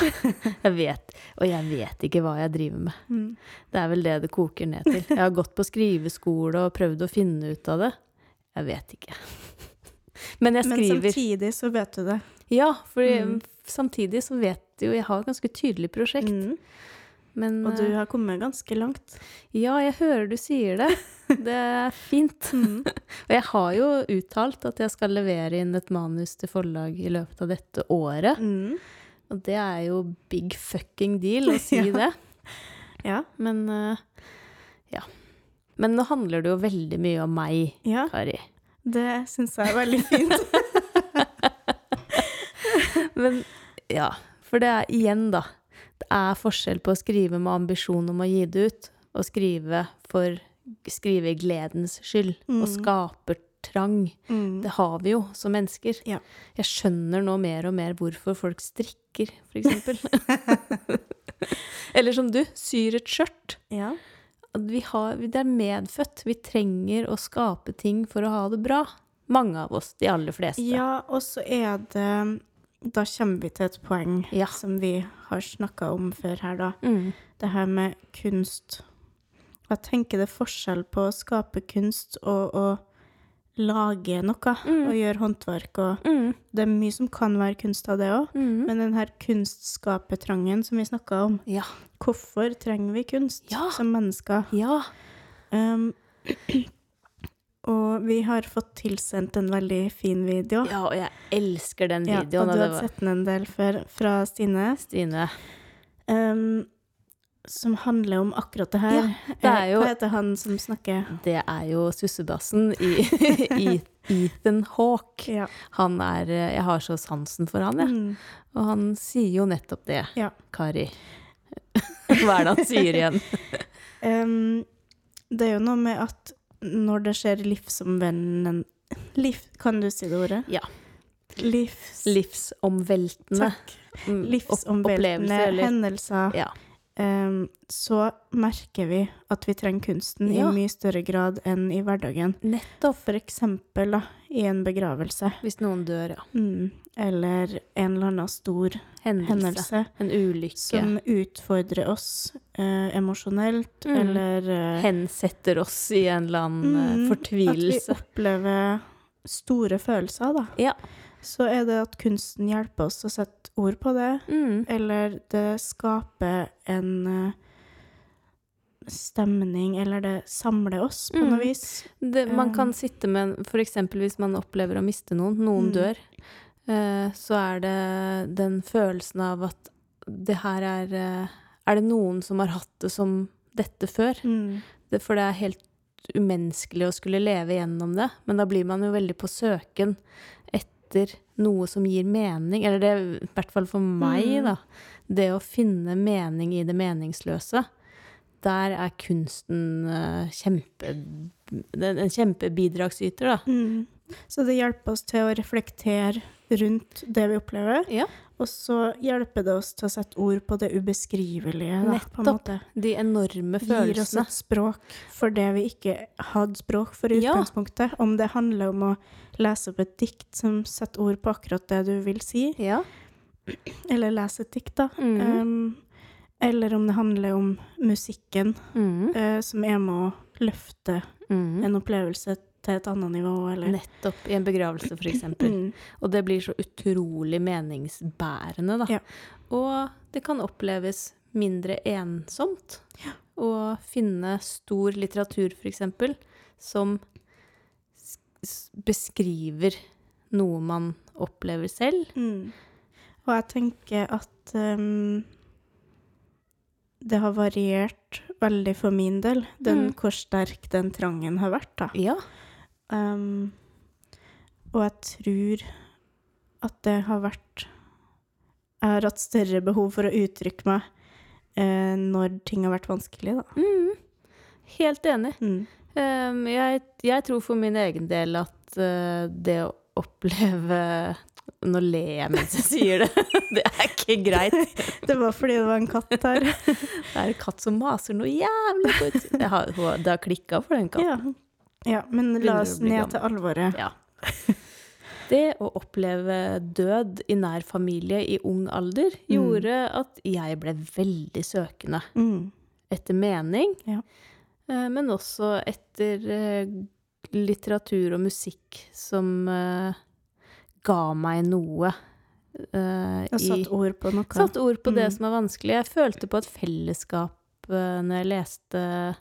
Speaker 2: Jeg vet. Og jeg vet ikke hva jeg driver med.
Speaker 1: Mm.
Speaker 2: Det er vel det det koker ned til. Jeg har gått på skriveskole og prøvd å finne ut av det. Jeg vet ikke. Men jeg
Speaker 1: Men
Speaker 2: skriver.
Speaker 1: samtidig så vet du det.
Speaker 2: Ja, for
Speaker 1: Mm.
Speaker 2: samtidig så vet jo jeg har et ganske tydelig prosjekt.
Speaker 1: Mm.
Speaker 2: Men
Speaker 1: Og du
Speaker 2: eh,
Speaker 1: har kommet ganske langt.
Speaker 2: ja, jeg hører du sier det. Det er fint.
Speaker 1: Mm.
Speaker 2: Og jeg har jo uttalt at jeg skal levere inn et manus til forlag i løpet av dette året.
Speaker 1: Mm.
Speaker 2: Og det er jo big fucking deal å si
Speaker 1: Ja.
Speaker 2: det.
Speaker 1: Ja.
Speaker 2: Men eh, ja. Men nå handler det jo veldig mye om meg,
Speaker 1: ja,
Speaker 2: Kari.
Speaker 1: det syns jeg er veldig fint.
Speaker 2: Men ja, for det er igjen, da. Det er forskjell på å skrive med ambisjon om å gi det ut, og skrive for skrivegledens skyld. Og
Speaker 1: Mm.
Speaker 2: skapertrang.
Speaker 1: Mm.
Speaker 2: Det har vi jo som mennesker.
Speaker 1: Ja.
Speaker 2: Jeg skjønner nå mer og mer hvorfor folk strikker, f.eks. Eller som du, syr et skjørt.
Speaker 1: Ja.
Speaker 2: At Vi har, det er medfødt. Vi trenger å skape ting for å ha det bra. Mange av oss. De aller fleste.
Speaker 1: Ja, og så er det Da kommer vi til et poeng
Speaker 2: Ja.
Speaker 1: som vi har snakka om før her, da.
Speaker 2: Mm.
Speaker 1: Det her med kunst. Jeg tenker det er forskjell på å skape kunst og å lage noe.
Speaker 2: Mm.
Speaker 1: Og gjøre håndverk og
Speaker 2: Mm.
Speaker 1: Det er mye som kan være kunst av det òg.
Speaker 2: Mm.
Speaker 1: Men den her kunstskapertrangen som vi snakka om
Speaker 2: Ja.
Speaker 1: Hvorfor trenger vi kunst
Speaker 2: Ja.
Speaker 1: som mennesker?
Speaker 2: ja.
Speaker 1: Um, og vi har fått tilsendt en veldig fin video.
Speaker 2: Ja, og jeg elsker den
Speaker 1: Ja, og
Speaker 2: videoen. og
Speaker 1: du
Speaker 2: det
Speaker 1: hadde
Speaker 2: var
Speaker 1: sett den en del før fra Stine,
Speaker 2: Stine.
Speaker 1: ehm, som handler om akkurat det her.
Speaker 2: det er
Speaker 1: Eh,
Speaker 2: jo-
Speaker 1: Hva heter han som snakker?
Speaker 2: Det er jo sussebassen i, i Ethan Hawke.
Speaker 1: Ja.
Speaker 2: Han er eh, Jeg har så sansen for han, jeg.
Speaker 1: Mm.
Speaker 2: Og han sier jo nettopp det,
Speaker 1: Ja.
Speaker 2: Kari. Hva er det han sier igjen?
Speaker 1: Ehm, det er jo noe med at når det skjer livsomvendende liv, Kan du si det ordet?
Speaker 2: Ja.
Speaker 1: Livs,
Speaker 2: Livsomveltende
Speaker 1: takk.
Speaker 2: mm, opp-
Speaker 1: Livsomveltende
Speaker 2: opplevelse, eller?
Speaker 1: hendelser.
Speaker 2: Ja.
Speaker 1: ehm, så merker vi at vi trenger kunsten
Speaker 2: Ja.
Speaker 1: i mye større grad enn i hverdagen.
Speaker 2: Nettopp.
Speaker 1: For eksempel da, i en begravelse.
Speaker 2: Hvis noen dør, ja.
Speaker 1: Mm. Eller en eller annen stor
Speaker 2: Hendelse.
Speaker 1: hendelse
Speaker 2: En ulykke.
Speaker 1: som utfordrer oss eh, emosjonelt,
Speaker 2: Mm.
Speaker 1: eller eh,
Speaker 2: hensetter oss i en eller annen eh,
Speaker 1: Mm,
Speaker 2: fortvilelse.
Speaker 1: At vi opplever store følelser, da.
Speaker 2: Ja.
Speaker 1: Så er det at kunsten hjelper oss å sette ord på det,
Speaker 2: Mm.
Speaker 1: eller det skaper en eh, stemning, eller det samler oss på
Speaker 2: Mm.
Speaker 1: noe vis.
Speaker 2: Det, man
Speaker 1: Um,
Speaker 2: kan sitte med For eksempel hvis man opplever å miste noen,
Speaker 1: Mm.
Speaker 2: noen dør, eh, så er det den følelsen av at det her er eh, Er det noen som har hatt det som dette før?
Speaker 1: Mm.
Speaker 2: Det, for det er helt umenneskelig å skulle leve gjennom det. Men da blir man jo veldig på søken etter noe som gir mening. Eller det i hvert fall for meg,
Speaker 1: Mm.
Speaker 2: da. Det å finne mening i det meningsløse. Der er kunsten eh, kjempeviktig. det er en kjempebidragsyter, da.
Speaker 1: Mm. Så det hjelper oss til å reflektere rundt det vi opplever.
Speaker 2: Ja.
Speaker 1: Og så hjelper det oss til å sette ord på det ubeskrivelige. Da, på en
Speaker 2: Nettopp.
Speaker 1: måte.
Speaker 2: De enorme
Speaker 1: Gir oss
Speaker 2: følelsene.
Speaker 1: et språk for det vi ikke hadde språk for i
Speaker 2: Ja.
Speaker 1: utgangspunktet. Om det handler om å lese opp et dikt som setter ord på akkurat det du vil si,
Speaker 2: Ja.
Speaker 1: eller lese et dikt, da.
Speaker 2: Mhm.
Speaker 1: Um, eller om det handler om musikken
Speaker 2: Mm.
Speaker 1: eh, som er med å løfte
Speaker 2: Mm.
Speaker 1: en opplevelse til et annet nivå, eller
Speaker 2: Nettopp. I en begravelse, for eksempel.
Speaker 1: mm.
Speaker 2: Og det blir så utrolig meningsbærende, da.
Speaker 1: Ja.
Speaker 2: Og det kan oppleves mindre ensomt å finne stor litteratur, f.eks., som s- s- beskriver noe man opplever selv.
Speaker 1: Mm. Og jeg tenker at ehm, det har variert veldig for min del, den,
Speaker 2: Mm.
Speaker 1: hvor sterk den trangen har vært. Da.
Speaker 2: Ja.
Speaker 1: Ehm, og jeg tror at det har vært Jeg har hatt større behov for å uttrykke meg eh, når ting har vært vanskelig, da.
Speaker 2: Mm. Helt enig.
Speaker 1: Mm.
Speaker 2: Ehm, jeg, jeg tror for min egen del at eh, det å oppleve Nå ler jeg mens jeg sier det. Det er ikke greit.
Speaker 1: Det var fordi det var en katt her.
Speaker 2: Det er en katt som maser noe jævlig på utsiden. Jeg har- hun- Det har klikka for den katten.
Speaker 1: ja. ja, men la
Speaker 2: Begynner
Speaker 1: oss
Speaker 2: å bli
Speaker 1: ned til alvoret.
Speaker 2: Ja. Det å oppleve død i nær familie i ung alder gjorde at jeg ble veldig søkende
Speaker 1: Mm.
Speaker 2: etter mening,
Speaker 1: Ja.
Speaker 2: eh, men også etter eh, litteratur og musikk som eh, ga meg noe. eh,
Speaker 1: Og
Speaker 2: i-
Speaker 1: satt ord på noe.
Speaker 2: Satt ord på det
Speaker 1: Mm.
Speaker 2: som er vanskelig. Jeg følte på et fellesskap eh, når jeg leste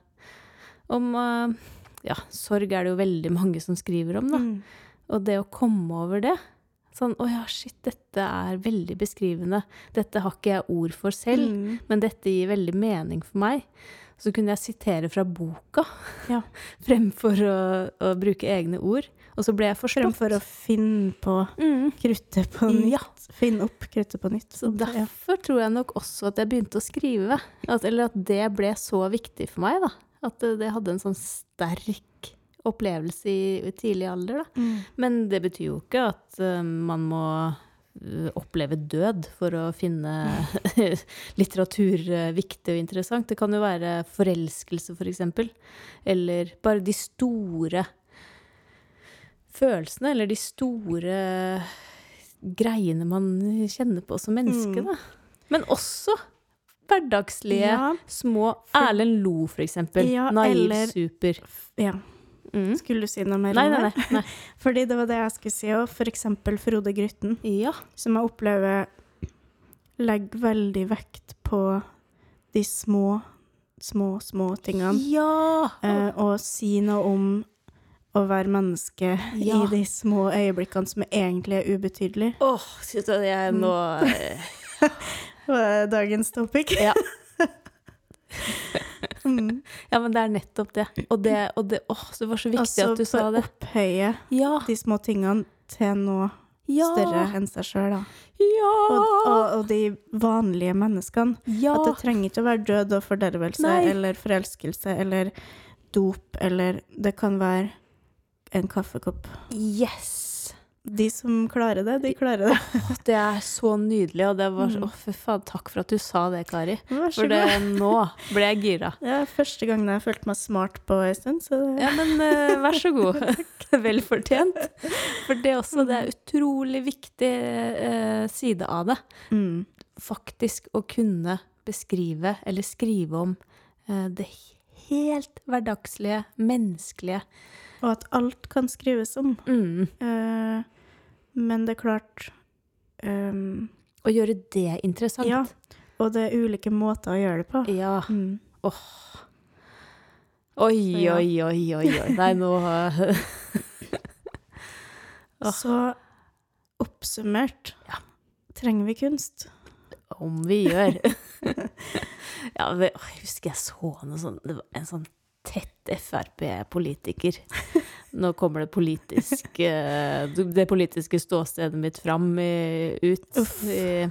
Speaker 2: om eh, Ja, sorg er det jo veldig mange som skriver om, da.
Speaker 1: Mm.
Speaker 2: Og det å komme over det Sånn Å ja, shit, dette er veldig beskrivende. Dette har ikke jeg ord for selv,
Speaker 1: Mm.
Speaker 2: men dette gir veldig mening for meg. Så kunne jeg sitere fra boka
Speaker 1: Ja.
Speaker 2: fremfor å, å bruke egne ord. Og så ble jeg forstått.
Speaker 1: Fremfor å finne på
Speaker 2: mm.
Speaker 1: kruttet på nytt.
Speaker 2: Ja.
Speaker 1: Finne opp kruttet på nytt.
Speaker 2: Så derfor tror jeg nok også at jeg begynte å skrive. At, eller at det ble så viktig for meg, da. At det, det hadde en sånn sterk opplevelse i tidlig alder, da.
Speaker 1: Mm.
Speaker 2: Men det betyr jo ikke at eh, man må eh, oppleve død for å finne litteratur eh, viktig og interessant. Det kan jo være forelskelse, for eksempel. Eller bare de store følelsene, eller de store greiene man kjenner på som menneske,
Speaker 1: Mm.
Speaker 2: da. Men også hverdagslige
Speaker 1: Ja.
Speaker 2: små
Speaker 1: For-
Speaker 2: Erlend Lo, for eksempel.
Speaker 1: Ja,
Speaker 2: Naiv
Speaker 1: eller-
Speaker 2: super.
Speaker 1: F- Ja.
Speaker 2: Mm.
Speaker 1: Skulle du si noe mer?
Speaker 2: Nei,
Speaker 1: om
Speaker 2: nei,
Speaker 1: det?
Speaker 2: nei. nei.
Speaker 1: Fordi det var det jeg skulle si òg. For eksempel Frode Grytten,
Speaker 2: Ja.
Speaker 1: som jeg opplever legger veldig vekt på de små, små, små tingene.
Speaker 2: Ja!
Speaker 1: Eh, og si noe om å være menneske
Speaker 2: Ja.
Speaker 1: i de små øyeblikkene som egentlig er ubetydelige.
Speaker 2: Åh, synes jeg jeg nå eh,
Speaker 1: Det var dagens topic.
Speaker 2: Ja.
Speaker 1: mm.
Speaker 2: Ja, men det er nettopp det. Og det, og det åh, så det var så viktig
Speaker 1: Altså,
Speaker 2: at du sa
Speaker 1: for
Speaker 2: det.
Speaker 1: Opphøye
Speaker 2: Ja,
Speaker 1: de små tingene til noe
Speaker 2: ja,
Speaker 1: større enn seg sjøl, da.
Speaker 2: ja,
Speaker 1: Og, og, og de vanlige menneskene.
Speaker 2: ja.
Speaker 1: At det trenger ikke å være død og fordervelse
Speaker 2: Nei.
Speaker 1: eller forelskelse eller dop eller Det kan være en kaffekopp.
Speaker 2: Yes!
Speaker 1: De som klarer det, de klarer det.
Speaker 2: Åh, det er så nydelig, og det var så,
Speaker 1: Mm.
Speaker 2: åh, fy faen, takk for at du sa det, Kari.
Speaker 1: Vær så
Speaker 2: For det,
Speaker 1: god.
Speaker 2: nå ble jeg gira.
Speaker 1: Det er første gangen jeg har følt meg smart på ei stund, så det
Speaker 2: Ja, men eh, vær så god. Vel fortjent. For det også, det er utrolig viktig eh, side av det.
Speaker 1: mm.
Speaker 2: faktisk å kunne beskrive eller skrive om eh, det helt hverdagslige, menneskelige. Mm.
Speaker 1: Og at alt kan skrives om. Eh, men det er klart ehm,
Speaker 2: Og gjøre det interessant.
Speaker 1: Ja. Og det er ulike måter å gjøre det på.
Speaker 2: Ja.
Speaker 1: Mm.
Speaker 2: Oi,
Speaker 1: Ja.
Speaker 2: oi, oi, oi, oi. Nei, nå eh, Åh.
Speaker 1: Så oppsummert
Speaker 2: Ja.
Speaker 1: trenger vi kunst.
Speaker 2: Om vi gjør. ja, men, åh, jeg husker jeg så noe sånn, det var en sånn tett Frp-politiker. Nå kommer det, politisk, eh, det politiske ståstedet mitt fram i, ut.
Speaker 1: Uff.
Speaker 2: I,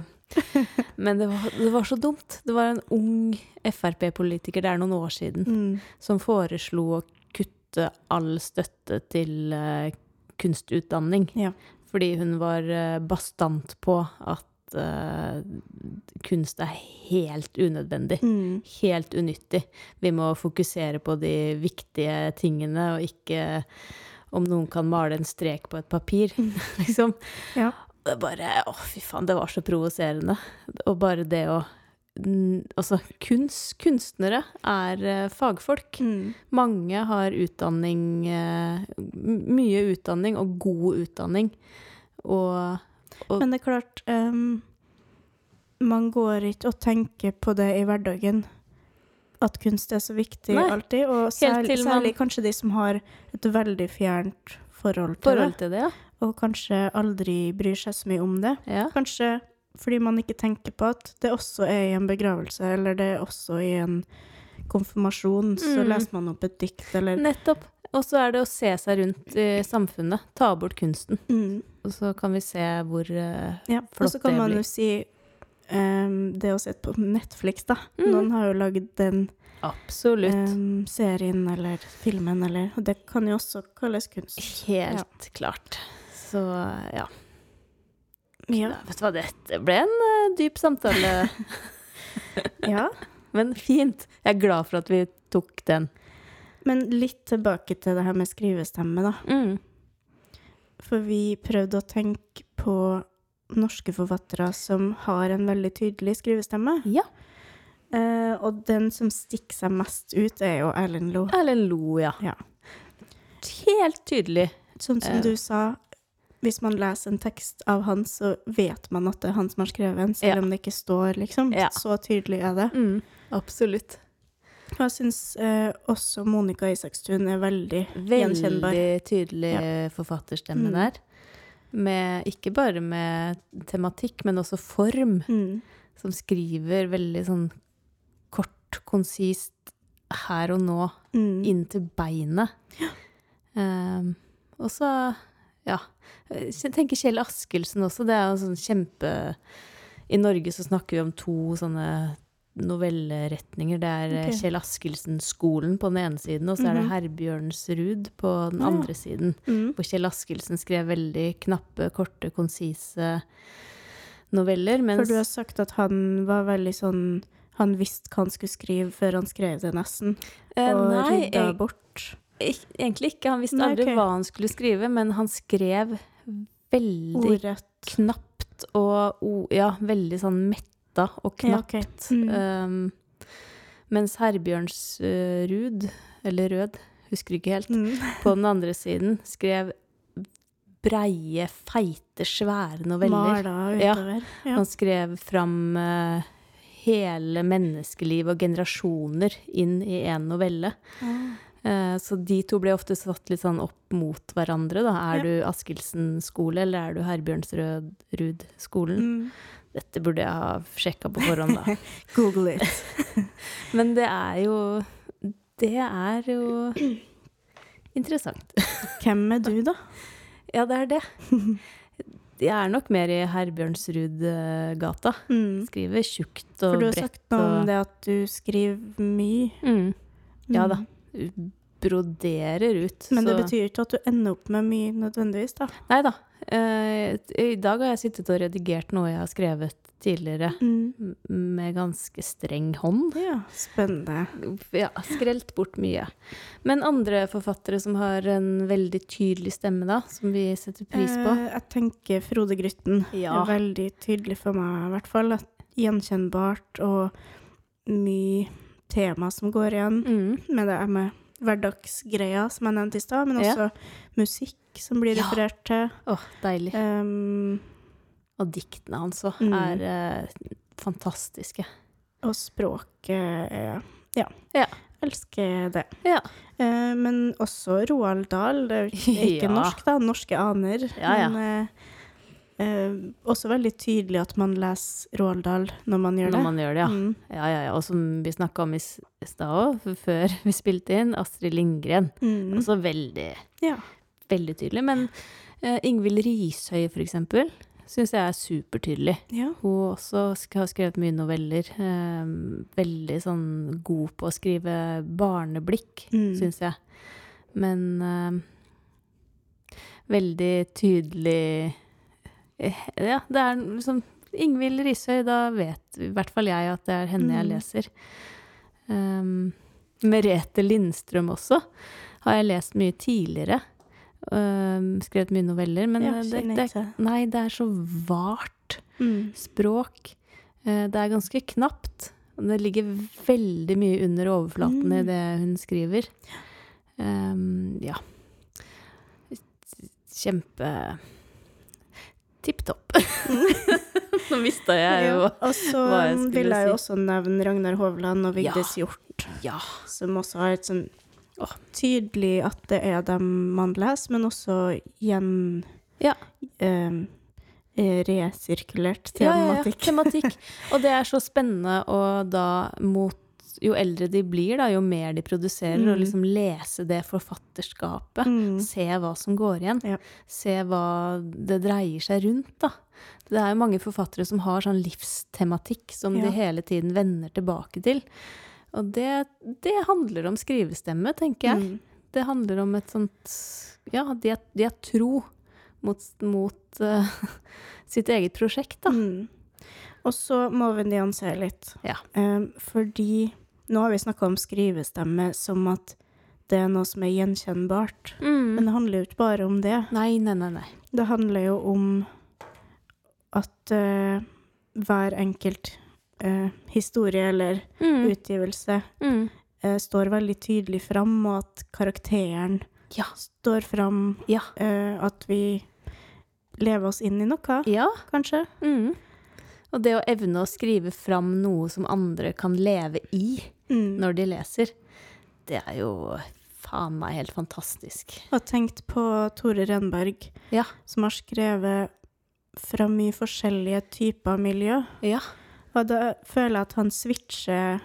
Speaker 2: men det var, det var så dumt. Det var en ung Frp-politiker, det er noen år siden,
Speaker 1: Mm.
Speaker 2: som foreslo å kutte kutte all støtte til eh, kunstutdanning.
Speaker 1: Ja.
Speaker 2: Fordi hun var eh, bastant på at eh, kunst er helt unødvendig.
Speaker 1: Mm.
Speaker 2: Helt unyttig. Vi må fokusere på de viktige tingene, og ikke om noen kan male en strek på et papir, liksom.
Speaker 1: Ja.
Speaker 2: Det er bare Å, fy faen, det var så provoserende. Og bare det å n- Altså, kunst, kunstnere er eh, fagfolk.
Speaker 1: Mm.
Speaker 2: Mange har utdanning eh, m- Mye utdanning og god utdanning. Og
Speaker 1: Men det er klart em, Man går ikke og tenker på det i hverdagen. At kunst er så viktig
Speaker 2: Nei.
Speaker 1: alltid. Og særlig,
Speaker 2: til man-
Speaker 1: særlig kanskje de som har et veldig fjernt forhold til
Speaker 2: forhold til det,
Speaker 1: det. Og kanskje aldri bryr seg så mye om det.
Speaker 2: ja.
Speaker 1: Kanskje fordi man ikke tenker på at det også er i en begravelse, eller det er også i en konfirmasjon. Så
Speaker 2: Mm.
Speaker 1: leser man opp et dikt, eller
Speaker 2: Nettopp. Og så er det å se seg rundt i samfunnet. Ta bort kunsten.
Speaker 1: mm,
Speaker 2: Og så kan vi se hvor eh,
Speaker 1: Ja, og
Speaker 2: Flott
Speaker 1: så kan
Speaker 2: det
Speaker 1: man
Speaker 2: blir.
Speaker 1: jo si em, det å se på Netflix, da.
Speaker 2: Mhm.
Speaker 1: Noen har jo lagd den
Speaker 2: Absolutt.
Speaker 1: em, serien eller filmen eller og Det kan jo også kalles kunst.
Speaker 2: Helt klart. Så ja.
Speaker 1: Ja.
Speaker 2: Nei, Vet du hva, dette ble en eh, dyp samtale.
Speaker 1: ja.
Speaker 2: Men fint. Jeg er glad for at vi tok den.
Speaker 1: Men litt tilbake til det her med skrivestemme, da.
Speaker 2: Mm.
Speaker 1: For vi prøvde å tenke på norske forfattere som har en veldig tydelig skrivestemme.
Speaker 2: Ja.
Speaker 1: Eh, og den som stikker seg mest ut, er jo Erlend Loe.
Speaker 2: Erlend Lo, ja.
Speaker 1: Ja.
Speaker 2: Helt tydelig.
Speaker 1: Sånn som
Speaker 2: Eh.
Speaker 1: du sa, hvis man leser en tekst av han, så vet man at det er han som har skrevet den, selv
Speaker 2: Ja.
Speaker 1: om det ikke står, liksom.
Speaker 2: Ja.
Speaker 1: Så tydelig er det.
Speaker 2: Mm. Absolutt.
Speaker 1: Og jeg syns eh, også Monica Isakstuen er veldig Gjenkjennbar.
Speaker 2: Veldig tydelig forfatterstemme
Speaker 1: Mm.
Speaker 2: der. Med, ikke bare med tematikk, men også form,
Speaker 1: mm,
Speaker 2: som skriver veldig sånn kort, konsist, her og nå,
Speaker 1: mm,
Speaker 2: inn til beinet. Ehm, og så, ja Jeg tenker Kjell Askelsen også. Det er jo en sånn kjempe I Norge så snakker vi om to sånne novelleretninger. Det er eh,
Speaker 1: Ok.
Speaker 2: Kjell Askelsen-skolen på den ene siden, og så er det
Speaker 1: Mhm.
Speaker 2: Herbjørnsrud på den
Speaker 1: Ja.
Speaker 2: andre siden.
Speaker 1: mm,
Speaker 2: Hvor Kjell Askelsen skrev veldig knappe, korte, konsise noveller.
Speaker 1: For
Speaker 2: Mens
Speaker 1: du har sagt at han var veldig sånn Han visste hva han skulle skrive før han skrev det, nesten.
Speaker 2: Eh,
Speaker 1: Og
Speaker 2: nei,
Speaker 1: rydda
Speaker 2: jeg-
Speaker 1: bort.
Speaker 2: Ik- Egentlig ikke. Han visste
Speaker 1: Nei,
Speaker 2: aldri
Speaker 1: ok.
Speaker 2: hva han skulle skrive, men han skrev veldig
Speaker 1: Ordrett.
Speaker 2: knapt og o- Ja, veldig sånn metta og
Speaker 1: Ja,
Speaker 2: knapt.
Speaker 1: ok. Mm.
Speaker 2: Um, mens Herbjørnsrud, eller Rød, husker ikke helt,
Speaker 1: Mm.
Speaker 2: på den andre siden skrev breie, feite, svære noveller.
Speaker 1: Mala
Speaker 2: Ja.
Speaker 1: utover. Ja.
Speaker 2: Han skrev fram eh, hele menneskeliv og generasjoner inn i én novelle.
Speaker 1: Ah.
Speaker 2: Eh, Så de to ble ofte satt litt sånn opp mot hverandre. Da. Er
Speaker 1: Ja.
Speaker 2: du Askildsen-skole, eller er du Herbjørnsrød-skolen?
Speaker 1: Mm.
Speaker 2: Dette burde jeg ha sjekka på forhånd, da.
Speaker 1: Google it.
Speaker 2: Men det er jo Det er jo interessant.
Speaker 1: Hvem er du, da?
Speaker 2: Ja, det er det. Jeg er nok mer i Herbjørnsrud-gata.
Speaker 1: Mm.
Speaker 2: Skriver tjukt
Speaker 1: For
Speaker 2: og
Speaker 1: du har
Speaker 2: bredt.
Speaker 1: sagt noe om
Speaker 2: og-
Speaker 1: det at du skriver mye.
Speaker 2: Mm. Ja
Speaker 1: Mm.
Speaker 2: da. Broderer ut.
Speaker 1: Men det
Speaker 2: så-
Speaker 1: betyr ikke at du ender opp med mye nødvendigvis, da.
Speaker 2: Nei da. Eh, I dag har jeg sittet og redigert noe jeg har skrevet tidligere. m- Med ganske streng hånd.
Speaker 1: Mm. Ja, spennende.
Speaker 2: Ja, skrelt bort mye. Men andre forfattere som har en veldig tydelig stemme, da, som vi setter pris på?
Speaker 1: Eh, jeg tenker Frode Grytten.
Speaker 2: Ja.
Speaker 1: er Veldig tydelig for meg, i hvert fall. At gjenkjennbart og mye tema som går igjen.
Speaker 2: Mm.
Speaker 1: Med det her med hverdagsgreia som jeg nevnte i stad, men
Speaker 2: Ja.
Speaker 1: også musikk som blir
Speaker 2: Ja.
Speaker 1: referert til.
Speaker 2: Åh, deilig.
Speaker 1: Um,
Speaker 2: Og diktene hans òg
Speaker 1: Mm.
Speaker 2: er eh, fantastiske.
Speaker 1: Og språket eh, ja.
Speaker 2: Ja.
Speaker 1: Elsker det.
Speaker 2: Ja.
Speaker 1: Eh, men også Roald Dahl. Det er jo ikke ikke
Speaker 2: Ja.
Speaker 1: norsk, da. Norske aner.
Speaker 2: Ja, ja.
Speaker 1: Men eh, eh, også veldig tydelig at man leser Roald Dahl når man gjør
Speaker 2: Når
Speaker 1: det.
Speaker 2: man gjør det, ja.
Speaker 1: Mm.
Speaker 2: ja, ja, ja. Og som vi snakka om i s- stad òg, før vi spilte inn, Astrid Lindgren.
Speaker 1: Mm.
Speaker 2: Også veldig
Speaker 1: Ja.
Speaker 2: veldig tydelig. Men eh, Ingvild Rishøi, for eksempel, syns jeg er supertydelig.
Speaker 1: ja.
Speaker 2: Hun også sk har skrevet mye noveller. Eh, veldig sånn god på å skrive barneblikk,
Speaker 1: Mm.
Speaker 2: syns jeg. Men eh, veldig tydelig eh, Ja, det er liksom Ingvild Rishøi, da vet i hvert fall jeg at det er henne jeg
Speaker 1: Mm.
Speaker 2: leser. Um, Merete Lindstrøm også har jeg lest mye tidligere. Um, skrevet mye noveller, men
Speaker 1: Ja,
Speaker 2: eh, det,
Speaker 1: kjenner jeg
Speaker 2: det,
Speaker 1: til.
Speaker 2: nei, det er så vart
Speaker 1: Mm.
Speaker 2: språk. Eh, Det er ganske knapt. og Det ligger veldig mye under overflaten i
Speaker 1: Mm.
Speaker 2: det hun skriver. Ehm, ja. Kjempe Tipp topp. Nå mista jeg jo
Speaker 1: Ja, Og så
Speaker 2: hva jeg
Speaker 1: um,
Speaker 2: skulle
Speaker 1: vil jeg jo
Speaker 2: si.
Speaker 1: også nevne Ragnar Hovland og Vigdis Hjorth,
Speaker 2: Ja.
Speaker 1: som også har et sånn åh, tydelig at det er dem man leser, men også gjen...
Speaker 2: Ja.
Speaker 1: em, resirkulert
Speaker 2: Ja, ja, ja,
Speaker 1: tematikk.
Speaker 2: tematikk. Og det er så spennende å da mot Jo eldre de blir, da, jo mer de produserer, og
Speaker 1: Mm.
Speaker 2: liksom lese det forfatterskapet.
Speaker 1: Mm.
Speaker 2: Se hva som går igjen.
Speaker 1: Ja.
Speaker 2: Se hva det dreier seg rundt, da. Det er jo mange forfattere som har sånn livstematikk som
Speaker 1: Ja.
Speaker 2: de hele tiden vender tilbake til. Og det, det handler om skrivestemme, tenker jeg.
Speaker 1: Mm.
Speaker 2: Det handler om et sånt Ja, de er, de er tro mot, mot eh, sitt eget prosjekt, da.
Speaker 1: Mm. Og så må vi nyansere litt.
Speaker 2: Ja.
Speaker 1: Em, fordi nå har vi snakka om skrivestemme som at det er noe som er gjenkjennbart. Men
Speaker 2: Mm.
Speaker 1: det handler jo ikke bare om det.
Speaker 2: Nei, nei, nei. nei.
Speaker 1: Det handler jo om at eh, hver enkelt eh, historie eller
Speaker 2: Mm.
Speaker 1: utgivelse
Speaker 2: Mm.
Speaker 1: eh, står veldig tydelig fram, og at karakteren
Speaker 2: Ja.
Speaker 1: står fram.
Speaker 2: Ja.
Speaker 1: eh, at vi lever oss inn i noe,
Speaker 2: ja.
Speaker 1: kanskje.
Speaker 2: Mm. Og det å evne å skrive fram noe som andre kan leve i.
Speaker 1: Mm.
Speaker 2: når de leser. Det er jo faen meg helt fantastisk.
Speaker 1: Jeg har tenkt på Tore Renberg,
Speaker 2: Ja.
Speaker 1: som har skrevet fra mye forskjellige typer miljø.
Speaker 2: Ja.
Speaker 1: Og da føler jeg at han switcher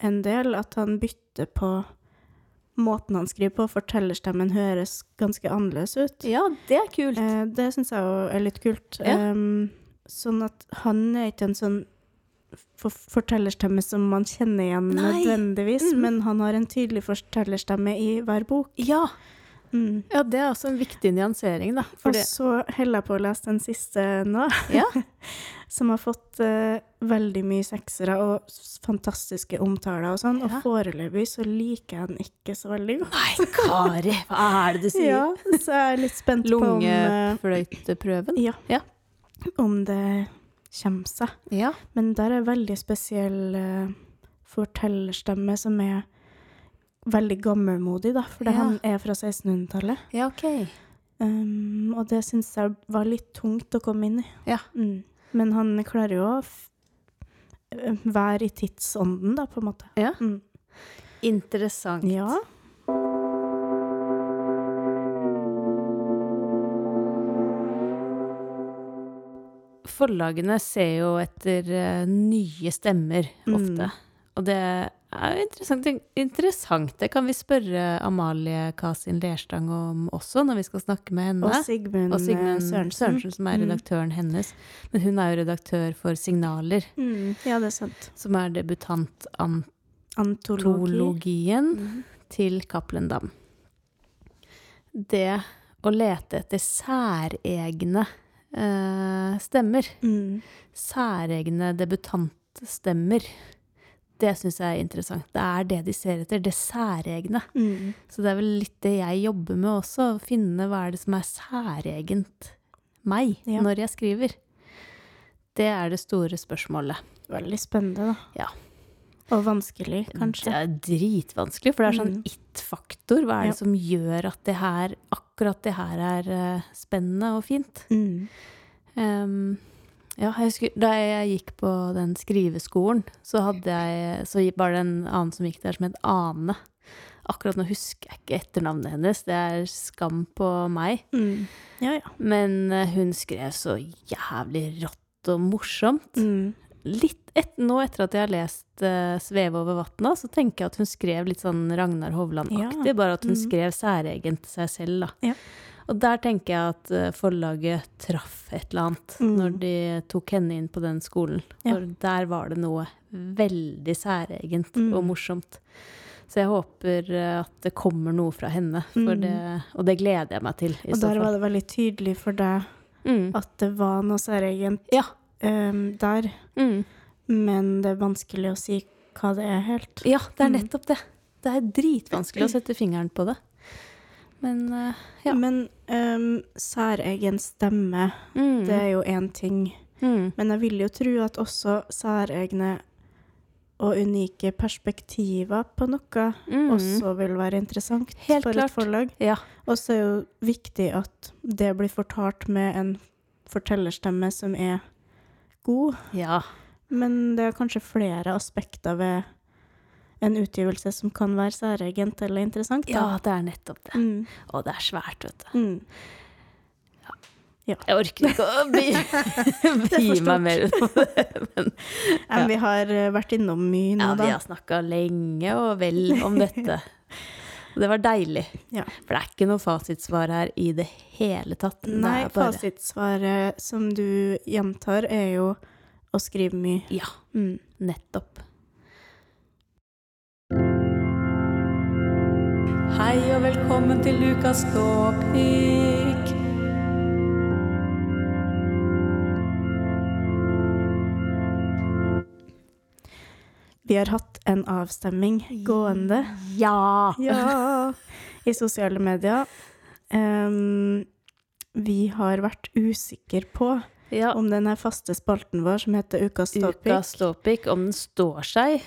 Speaker 1: en del, at han bytter på måten han skriver på. Fortellerstemmen høres ganske annerledes ut.
Speaker 2: Ja, det er kult.
Speaker 1: Eh, det syns jeg jo er litt kult.
Speaker 2: Ja.
Speaker 1: Em, sånn at han er ikke en sånn for fortellerstemme som man kjenner igjen
Speaker 2: Nei.
Speaker 1: nødvendigvis,
Speaker 2: Mhm.
Speaker 1: men han har en tydelig fortellerstemme i hver bok.
Speaker 2: Ja.
Speaker 1: Mm.
Speaker 2: ja, det er også en viktig nyansering, da. For det,
Speaker 1: Og så holder jeg på å lese den siste nå,
Speaker 2: Ja.
Speaker 1: som har fått eh, veldig mye seksere og s- fantastiske omtaler og sånn,
Speaker 2: Ja.
Speaker 1: og foreløpig så liker jeg den ikke så veldig godt.
Speaker 2: nei, Kari, hva er det du sier?
Speaker 1: Ja, så jeg er litt spent på om, eh,
Speaker 2: Lungefløyteprøven?
Speaker 1: om det kommer seg.
Speaker 2: Ja.
Speaker 1: Men der er veldig spesiell eh, fortellerstemme som er veldig gammelmodig, da, for
Speaker 2: Ja.
Speaker 1: han er fra 1600-tallet.
Speaker 2: ja, ok.
Speaker 1: Um, og det syns jeg var litt tungt å komme inn i.
Speaker 2: Ja.
Speaker 1: Mm. Men han klarer jo å f eh, være i tidsånden, da, på en måte.
Speaker 2: Ja.
Speaker 1: Mm.
Speaker 2: Interessant.
Speaker 1: ja.
Speaker 2: Forlagene ser jo etter eh, nye stemmer ofte.
Speaker 1: Mm.
Speaker 2: Og det er jo interessant. interessant. Det kan vi spørre Amalie Kasin Lerstang om også, når vi skal snakke med henne.
Speaker 1: Og Sigmund,
Speaker 2: Og Sigmund
Speaker 1: eh,
Speaker 2: Sørensen,
Speaker 1: Sørensen.
Speaker 2: som er
Speaker 1: Mm.
Speaker 2: redaktøren hennes. Men hun er jo redaktør for Signaler,
Speaker 1: Mm. Ja, det er sant.
Speaker 2: som er debutantantologien
Speaker 1: Antologi. Mm.
Speaker 2: til Cappelen Dam. Det å lete etter særegne eh, stemmer,
Speaker 1: Mm.
Speaker 2: særegne debutantstemmer, det syns jeg er interessant. Det er det de ser etter, det særegne.
Speaker 1: Mm.
Speaker 2: Så det er vel litt det jeg jobber med også, å finne hva er det som er særegent meg
Speaker 1: Ja.
Speaker 2: når jeg skriver. Det er det store spørsmålet.
Speaker 1: Veldig spennende, da.
Speaker 2: Ja.
Speaker 1: Og vanskelig, kanskje.
Speaker 2: Det er dritvanskelig, for det er sånn
Speaker 1: Mm.
Speaker 2: it-faktor. Hva er
Speaker 1: Ja.
Speaker 2: det som gjør at det her, akkurat det her er eh, spennende og fint?
Speaker 1: Mm.
Speaker 2: Ehm, ja, jeg husker, da jeg gikk på den skriveskolen, så, hadde jeg, så var det en annen som gikk der som het Ane. Akkurat nå husker jeg ikke etternavnet hennes, det er skam på meg.
Speaker 1: Mm. Ja, ja.
Speaker 2: Men eh, hun skrev så jævlig rått og morsomt.
Speaker 1: Mm.
Speaker 2: Litt et, nå etter at jeg har lest eh, 'Sveve over vatna', så tenker jeg at hun skrev litt sånn Ragnar Hovland-aktig,
Speaker 1: Ja.
Speaker 2: bare at hun
Speaker 1: Mhm.
Speaker 2: skrev særegent til seg selv, da.
Speaker 1: Ja.
Speaker 2: Og der tenker jeg at eh, forlaget traff et eller annet
Speaker 1: Mm.
Speaker 2: når de tok henne inn på den skolen.
Speaker 1: Ja.
Speaker 2: For der var det noe veldig særegent
Speaker 1: Mm.
Speaker 2: og morsomt Så jeg håper eh, at det kommer noe fra henne, for
Speaker 1: Mm.
Speaker 2: det, og det gleder jeg meg til. I
Speaker 1: Og
Speaker 2: så
Speaker 1: der
Speaker 2: fall.
Speaker 1: var det veldig tydelig for deg
Speaker 2: Mm.
Speaker 1: at det var noe særegent
Speaker 2: Ja.
Speaker 1: em, der,
Speaker 2: Mm.
Speaker 1: men det er vanskelig å si hva det er helt.
Speaker 2: ja, det er
Speaker 1: Mm.
Speaker 2: nettopp det. Det er dritvanskelig å sette fingeren på det. Men eh, Ja.
Speaker 1: Men em, særegen stemme,
Speaker 2: mm.
Speaker 1: det er jo én ting.
Speaker 2: mm.
Speaker 1: Men jeg vil jo tro at også særegne og unike perspektiver på noe
Speaker 2: Mm.
Speaker 1: også vil være interessant
Speaker 2: Helt
Speaker 1: for
Speaker 2: klart.
Speaker 1: et forlag.
Speaker 2: Ja.
Speaker 1: Og så er jo viktig at det blir fortalt med en fortellerstemme som er god,
Speaker 2: ja.
Speaker 1: men det er kanskje flere aspekter ved en utgivelse som kan være særegent eller interessant.
Speaker 2: Ja,
Speaker 1: da.
Speaker 2: det er nettopp det.
Speaker 1: Mm,
Speaker 2: Og det er svært, vet du.
Speaker 1: mm.
Speaker 2: Jeg orker ikke å bli,
Speaker 1: er for
Speaker 2: bli
Speaker 1: stort.
Speaker 2: meg mer ut på det. Men
Speaker 1: Men vi har eh, vært innom mye nå,
Speaker 2: ja, vi
Speaker 1: da.
Speaker 2: har snakka lenge og vel om dette. Og det var deilig.
Speaker 1: Ja.
Speaker 2: For det er ikke noe fasitsvar her i det hele tatt. Det
Speaker 1: Nei,
Speaker 2: er bare-
Speaker 1: fasitsvaret som du gjentar, er jo å skrive mye.
Speaker 2: Ja,
Speaker 1: Mm.
Speaker 2: nettopp. Hei og velkommen til Lukas Ståpikk.
Speaker 1: Vi har hatt en avstemning gående
Speaker 2: Ja!
Speaker 1: ja, i sosiale medier. Ehm, vi har vært usikre på
Speaker 2: ja.
Speaker 1: om den her faste spalten vår som heter Ukas
Speaker 2: Ukas
Speaker 1: topic
Speaker 2: ståpikk, om den står seg,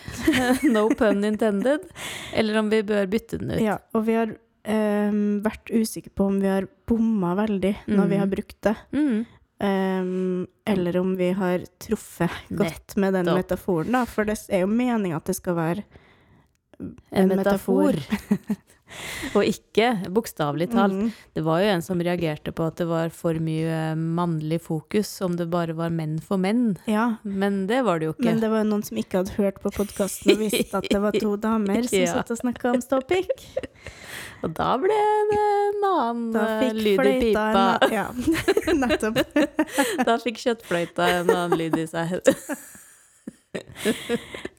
Speaker 2: no pun intended, eller om vi bør bytte den ut.
Speaker 1: ja, Og vi har ehm, vært usikre på om vi har bomma veldig når
Speaker 2: Mm.
Speaker 1: vi har brukt det.
Speaker 2: Mm.
Speaker 1: ehm, eller om vi har truffet godt med den
Speaker 2: Nettopp.
Speaker 1: metaforen, da. For det er jo meninga at det skal være
Speaker 2: En
Speaker 1: En metafor.
Speaker 2: metafor. og ikke bokstavelig talt.
Speaker 1: Mm.
Speaker 2: Det var jo en som reagerte på at det var for mye mannlig fokus, om det bare var menn for menn.
Speaker 1: Ja,
Speaker 2: Men det var det jo ikke.
Speaker 1: Men det var jo noen som ikke hadde hørt på podkasten og visste at det var to damer som
Speaker 2: Ja.
Speaker 1: satt og snakka om ståpikk.
Speaker 2: Og da ble det en annen
Speaker 1: Da
Speaker 2: eh,
Speaker 1: fikk
Speaker 2: lyd i
Speaker 1: fløyta
Speaker 2: pipa.
Speaker 1: en Ja, nettopp.
Speaker 2: Da fikk kjøttfløyta en annen lyd i seg.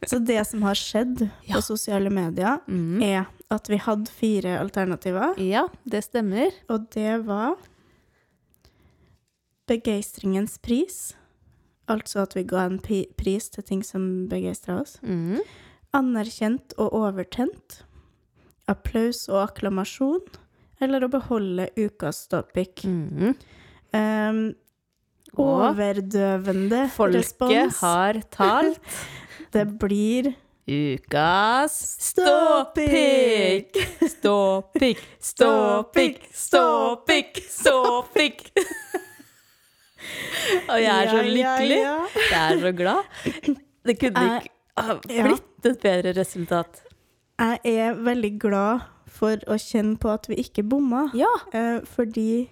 Speaker 1: Så det som har skjedd
Speaker 2: Ja.
Speaker 1: på sosiale medier,
Speaker 2: Mm.
Speaker 1: er at vi hadde fire alternativer,
Speaker 2: Ja, det stemmer.
Speaker 1: og det var Begeistringens pris, altså at vi ga en pi pris til ting som begeistra oss.
Speaker 2: Mm.
Speaker 1: Anerkjent og overtent. Applaus og akklamasjon. Eller å beholde ukas topic.
Speaker 2: Mm.
Speaker 1: Um,
Speaker 2: Og
Speaker 1: overdøvende
Speaker 2: folket
Speaker 1: respons.
Speaker 2: har talt.
Speaker 1: Det blir
Speaker 2: Ukas ståpikk! Ståpikk, ståpikk, ståpikk, ståpikk! Og jeg er så lykkelig.
Speaker 1: Ja, ja,
Speaker 2: Jeg er så glad. Det kunne
Speaker 1: Jeg-
Speaker 2: ikke ha
Speaker 1: ja.
Speaker 2: blitt et bedre resultat.
Speaker 1: ja. Jeg er veldig glad for å kjenne på at vi ikke bomma,
Speaker 2: Ja.
Speaker 1: eh, fordi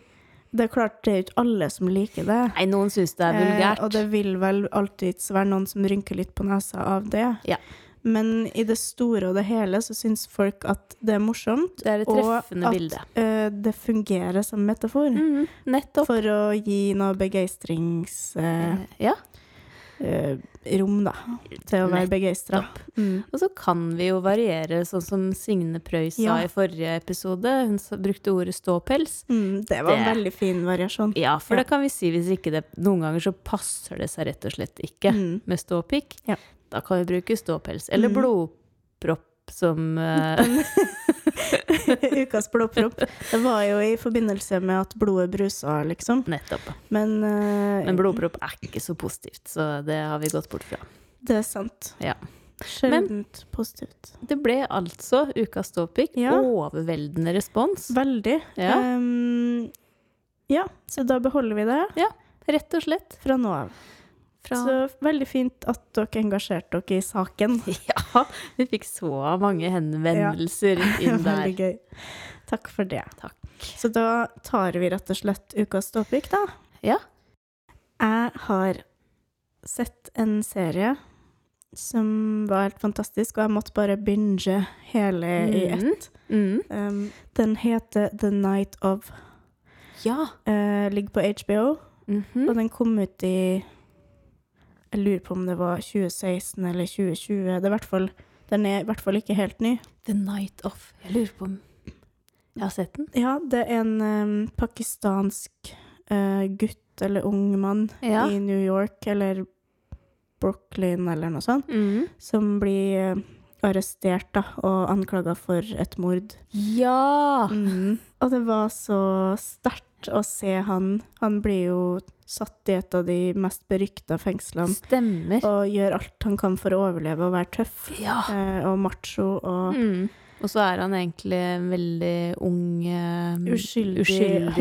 Speaker 1: det er klart det er jo ikke alle som liker det.
Speaker 2: Nei, noen syns det er
Speaker 1: Eh, og
Speaker 2: vulgært.
Speaker 1: det vil vel alltids være noen som rynker litt på nesa av det.
Speaker 2: Ja.
Speaker 1: Men i det store og det hele så syns folk at det er morsomt,
Speaker 2: Det er et
Speaker 1: og
Speaker 2: treffende
Speaker 1: at-
Speaker 2: bilde.
Speaker 1: eh, det fungerer som metafor.
Speaker 2: Mm, nettopp.
Speaker 1: For å gi noe begeistringsrom,
Speaker 2: Eh, Ja.
Speaker 1: eh, da. Til å være begeistra. Mm.
Speaker 2: Og så kan vi jo variere, sånn som Signe Prøy sa
Speaker 1: Ja.
Speaker 2: i forrige episode. Hun sa- brukte ordet ståpels.
Speaker 1: Mm, det var en
Speaker 2: Det-
Speaker 1: veldig fin variasjon.
Speaker 2: Ja, for
Speaker 1: Ja.
Speaker 2: det kan vi si hvis ikke det Noen ganger så passer det seg rett og slett ikke
Speaker 1: Mm.
Speaker 2: med ståpikk.
Speaker 1: Ja.
Speaker 2: Da kan vi bruke ståpels. Eller
Speaker 1: Mm.
Speaker 2: blodpropp som eh,
Speaker 1: Ukas blodpropp. Det var jo i forbindelse med at blodet brusa, liksom.
Speaker 2: Nettopp.
Speaker 1: Men, eh,
Speaker 2: Men blodpropp er ikke så positivt, så det har vi gått bort fra.
Speaker 1: det er sant.
Speaker 2: Ja.
Speaker 1: Sjeldent positivt.
Speaker 2: Det ble altså ukas ståpikk.
Speaker 1: Ja.
Speaker 2: Overveldende respons.
Speaker 1: Veldig.
Speaker 2: Ja.
Speaker 1: Ehm, ja, så da beholder vi det
Speaker 2: Rett og slett.
Speaker 1: fra nå av.
Speaker 2: Fra
Speaker 1: Så veldig fint at dere engasjerte dere i saken.
Speaker 2: Ja, vi fikk så mange henvendelser inn der.
Speaker 1: Veldig gøy. Takk for det.
Speaker 2: Takk.
Speaker 1: Så da tar vi rett og slett ukas topic, da.
Speaker 2: Ja.
Speaker 1: Jeg har sett en serie som var helt fantastisk, og jeg måtte bare binge hele i ett.
Speaker 2: eh, Mm.
Speaker 1: Um, den heter The Night of.
Speaker 2: Ja.
Speaker 1: eh, ligger på HBO,
Speaker 2: Mhm.
Speaker 1: og den kom ut i Jeg lurer på om det var 2016 eller 2020. Det er i hvert fall Den er i hvert fall ikke helt ny.
Speaker 2: The Night Off. Jeg lurer på om jeg har sett den.
Speaker 1: Ja, det er en em, pakistansk eh, gutt eller ung mann
Speaker 2: Ja.
Speaker 1: i New York eller Brooklyn eller noe sånt,
Speaker 2: Mm.
Speaker 1: som blir eh, arrestert da, og anklaga for et mord.
Speaker 2: Ja!
Speaker 1: Mm. Og det var så sterkt å se han. Han blir jo satt i et av de mest berykta fengslene
Speaker 2: Stemmer.
Speaker 1: og gjør alt han kan for å overleve og være tøff
Speaker 2: Ja.
Speaker 1: eh, og macho og
Speaker 2: Mm. Og så er han egentlig en veldig ung, eh,
Speaker 1: uskyldig,
Speaker 2: uskyldig myk,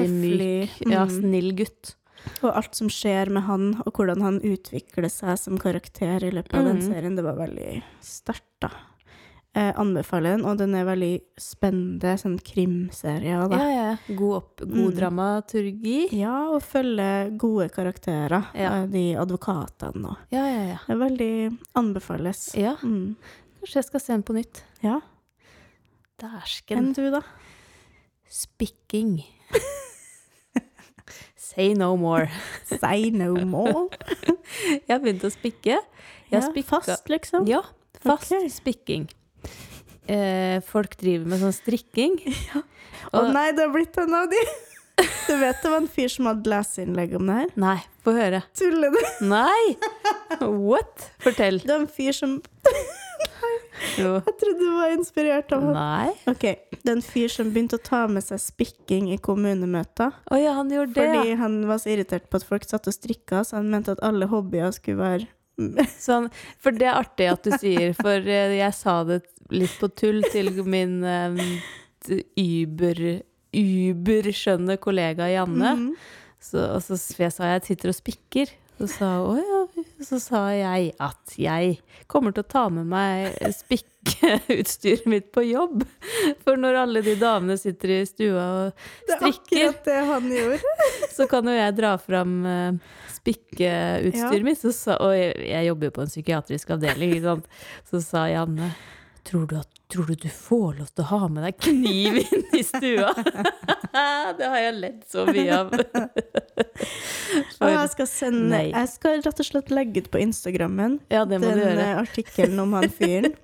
Speaker 1: høflig.
Speaker 2: ja,
Speaker 1: mm.
Speaker 2: snill gutt.
Speaker 1: Og alt som skjer med han, og hvordan han utvikler seg som karakter i løpet av den
Speaker 2: Mm.
Speaker 1: serien, det var veldig sterkt, da. Eh, anbefaler den, og den er veldig spennende, sånn krimserie. og Da.
Speaker 2: Ja, ja. God, opp, god
Speaker 1: Mm.
Speaker 2: dramaturgi.
Speaker 1: Ja, og følge gode karakterer,
Speaker 2: Ja.
Speaker 1: eh, de advokatene og
Speaker 2: Ja, ja, ja.
Speaker 1: Det er veldig anbefales.
Speaker 2: ja.
Speaker 1: Mm.
Speaker 2: Kanskje jeg skal se den på nytt.
Speaker 1: Ja.
Speaker 2: Dæsken.
Speaker 1: Enn du, da?
Speaker 2: Spikking. Say no more.
Speaker 1: Say no more.
Speaker 2: Jeg har begynt å spikke. Jeg
Speaker 1: Ja,
Speaker 2: har spikka-
Speaker 1: fast, liksom.
Speaker 2: Ja, fast
Speaker 1: Ok.
Speaker 2: spikking. Eh, folk driver med sånn strikking.
Speaker 1: Å
Speaker 2: Og-
Speaker 1: nei, det har blitt en av de! Du vet det var en fyr som hadde leseinnlegg om det her?
Speaker 2: Nei, få høre.
Speaker 1: Tuller du?
Speaker 2: Nei! What? Fortell.
Speaker 1: Det var en fyr som
Speaker 2: Jo.
Speaker 1: Jeg trodde du var inspirert av han.
Speaker 2: Nei.
Speaker 1: Ok, det er en fyr som begynte å ta med seg spikking i kommunemøter.
Speaker 2: Å ja, han gjorde det.
Speaker 1: Fordi
Speaker 2: ja.
Speaker 1: han var så irritert på at folk satt og strikka, så han mente at alle hobbyer skulle være
Speaker 2: Sånn, for det er artig at du sier, for eh, jeg sa det litt på tull til min eh, t- über uberskjønne kollega Janne.
Speaker 1: Mhm.
Speaker 2: Så, og så s- jeg sa jeg sitter og spikker. Så sa, hun, «Å ja. så sa jeg at jeg kommer til å ta med meg spikkeutstyret mitt på jobb. For når alle de damene sitter i stua og
Speaker 1: Det er
Speaker 2: strikker,
Speaker 1: akkurat det han gjorde.
Speaker 2: så kan jo jeg dra fram eh, spikkeutstyret
Speaker 1: Ja.
Speaker 2: mitt. Så sa, og jeg, jeg jobber jo på en psykiatrisk avdeling, ikke sant. Så sa Janne Tror du, at, tror du du får lov til å ha med deg kniv inn i stua? det har jeg ledd så mye av.
Speaker 1: Og
Speaker 2: For,
Speaker 1: jeg skal sende
Speaker 2: Nei.
Speaker 1: Jeg skal rett og slett legge ut på Instagrammen
Speaker 2: ja, det må
Speaker 1: den
Speaker 2: du gjøre.
Speaker 1: eh, artikkelen om han fyren.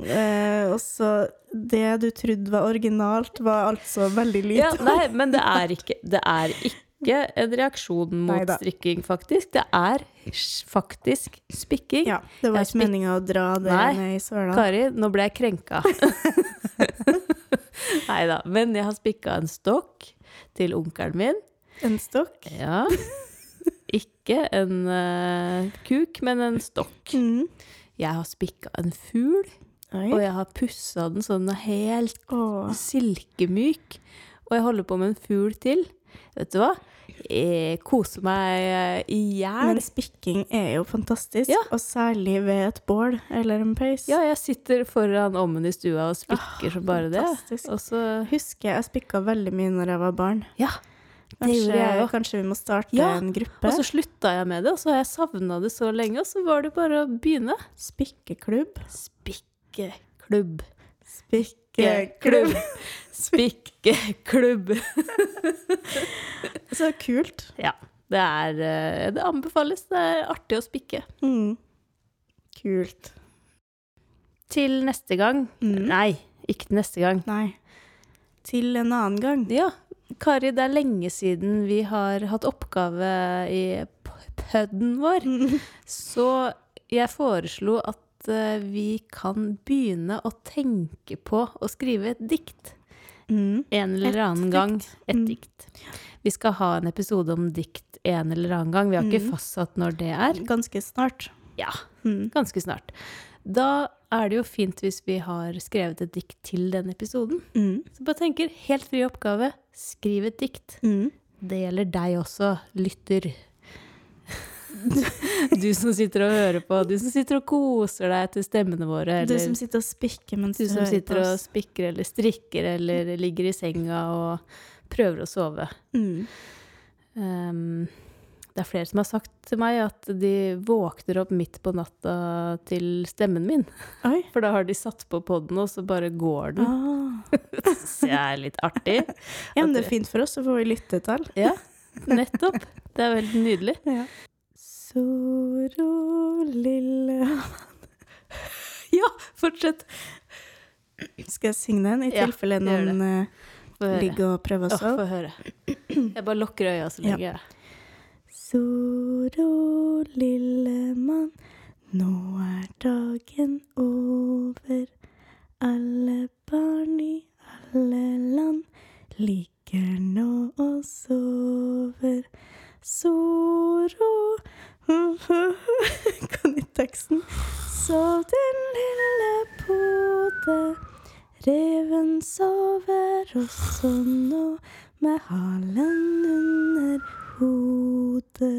Speaker 1: Eh, og så Det du trodde var originalt, var altså veldig
Speaker 2: Ja,
Speaker 1: lite.
Speaker 2: nei, men det er ikke, det er ikke en reaksjon mot
Speaker 1: Neida.
Speaker 2: strikking, faktisk. Det er s- faktisk spikking.
Speaker 1: Ja, det var
Speaker 2: Jeg
Speaker 1: ikke meninga å dra det
Speaker 2: Nei.
Speaker 1: ned i søla.
Speaker 2: Kari, nå ble jeg krenka. Nei da. Men jeg har spikka en stokk til onkelen min.
Speaker 1: En stokk.
Speaker 2: Ja. Ikke en eh, kuk, men en stokk.
Speaker 1: Mm.
Speaker 2: Jeg har spikka en fugl,
Speaker 1: Oi.
Speaker 2: og jeg har pussa den så den er helt
Speaker 1: Åh.
Speaker 2: silkemyk. Og jeg holder på med en fugl til. Vet du hva? Jeg koser meg eh, i hjel.
Speaker 1: Men spikking er jo fantastisk,
Speaker 2: Ja.
Speaker 1: og særlig ved et bål eller en peis.
Speaker 2: Ja, jeg sitter foran ovnen i stua og spikker som bare det.
Speaker 1: Ah, fantastisk.
Speaker 2: Og så
Speaker 1: Jeg husker jeg spikka veldig mye når jeg var barn.
Speaker 2: Ja, det
Speaker 1: Kanskje,
Speaker 2: gjorde jeg òg.
Speaker 1: kanskje vi må starte
Speaker 2: Ja,
Speaker 1: en gruppe?
Speaker 2: Og så slutta jeg med det, og så har jeg savna det så lenge, og så var det bare å begynne.
Speaker 1: Spikkeklubb.
Speaker 2: Spikkeklubb.
Speaker 1: Spikkeklubb.
Speaker 2: Spikkeklubb.
Speaker 1: Så kult.
Speaker 2: Ja. Det er eh, Det anbefales. Det er artig å spikke.
Speaker 1: Mm. Kult.
Speaker 2: Til neste gang
Speaker 1: Mm.
Speaker 2: Nei, ikke til neste gang.
Speaker 1: Nei. Til en annen gang.
Speaker 2: Ja, Kari, det er lenge siden vi har hatt oppgave i pødden vår. Så jeg foreslo at eh, vi kan begynne å tenke på å skrive et dikt.
Speaker 1: Mm.
Speaker 2: En eller
Speaker 1: Et
Speaker 2: annen
Speaker 1: dikt.
Speaker 2: gang. Et
Speaker 1: Mm.
Speaker 2: dikt. Vi skal ha en episode om dikt en eller annen gang. Vi har ikke
Speaker 1: Mm.
Speaker 2: fastsatt når det er.
Speaker 1: Ganske snart.
Speaker 2: Ja,
Speaker 1: Mm.
Speaker 2: ganske snart. Da er det jo fint hvis vi har skrevet et dikt til den episoden.
Speaker 1: Mm.
Speaker 2: Så bare tenker, helt fri oppgave, skriv et dikt.
Speaker 1: Mm.
Speaker 2: Det gjelder deg også, lytter. Du som sitter og hører på, du som sitter og koser deg til stemmene våre,
Speaker 1: Du som
Speaker 2: eller
Speaker 1: sitter og spikker mens
Speaker 2: du
Speaker 1: du,
Speaker 2: som
Speaker 1: hører
Speaker 2: sitter
Speaker 1: på
Speaker 2: og
Speaker 1: oss.
Speaker 2: spikker eller strikker eller ligger i senga og prøver å sove.
Speaker 1: Mm.
Speaker 2: Ehm, det er flere som har sagt til meg at de våkner opp midt på natta til stemmen min.
Speaker 1: Oi.
Speaker 2: For da har de satt på poden, og så bare går den.
Speaker 1: Ah.
Speaker 2: Det er litt artig.
Speaker 1: Ja, men
Speaker 2: At
Speaker 1: det er fint for oss, så får vi lyttetall.
Speaker 2: Ja, nettopp. Det er veldig nydelig.
Speaker 1: Ja. Soro lille
Speaker 2: Ja, Fortsett.
Speaker 1: Skal jeg synge den, i
Speaker 2: Ja,
Speaker 1: tilfelle
Speaker 2: gjør det.
Speaker 1: noen eh,
Speaker 2: Få høre.
Speaker 1: ligger og prøver
Speaker 2: Åh,
Speaker 1: å sove?
Speaker 2: få høre. Jeg bare lukker øya så
Speaker 1: Ja.
Speaker 2: lenge. jeg.
Speaker 1: Soro, lille mann, nå er dagen over. Alle barn i alle land ligger nå og sover. Soro Kan ikke teksten. Sov din lille pode. Reven sover også nå med halen under hodet.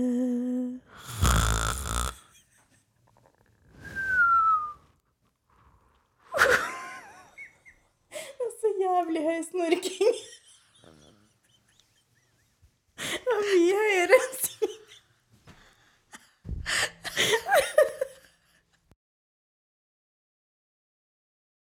Speaker 1: Det er så jævlig høy snorking.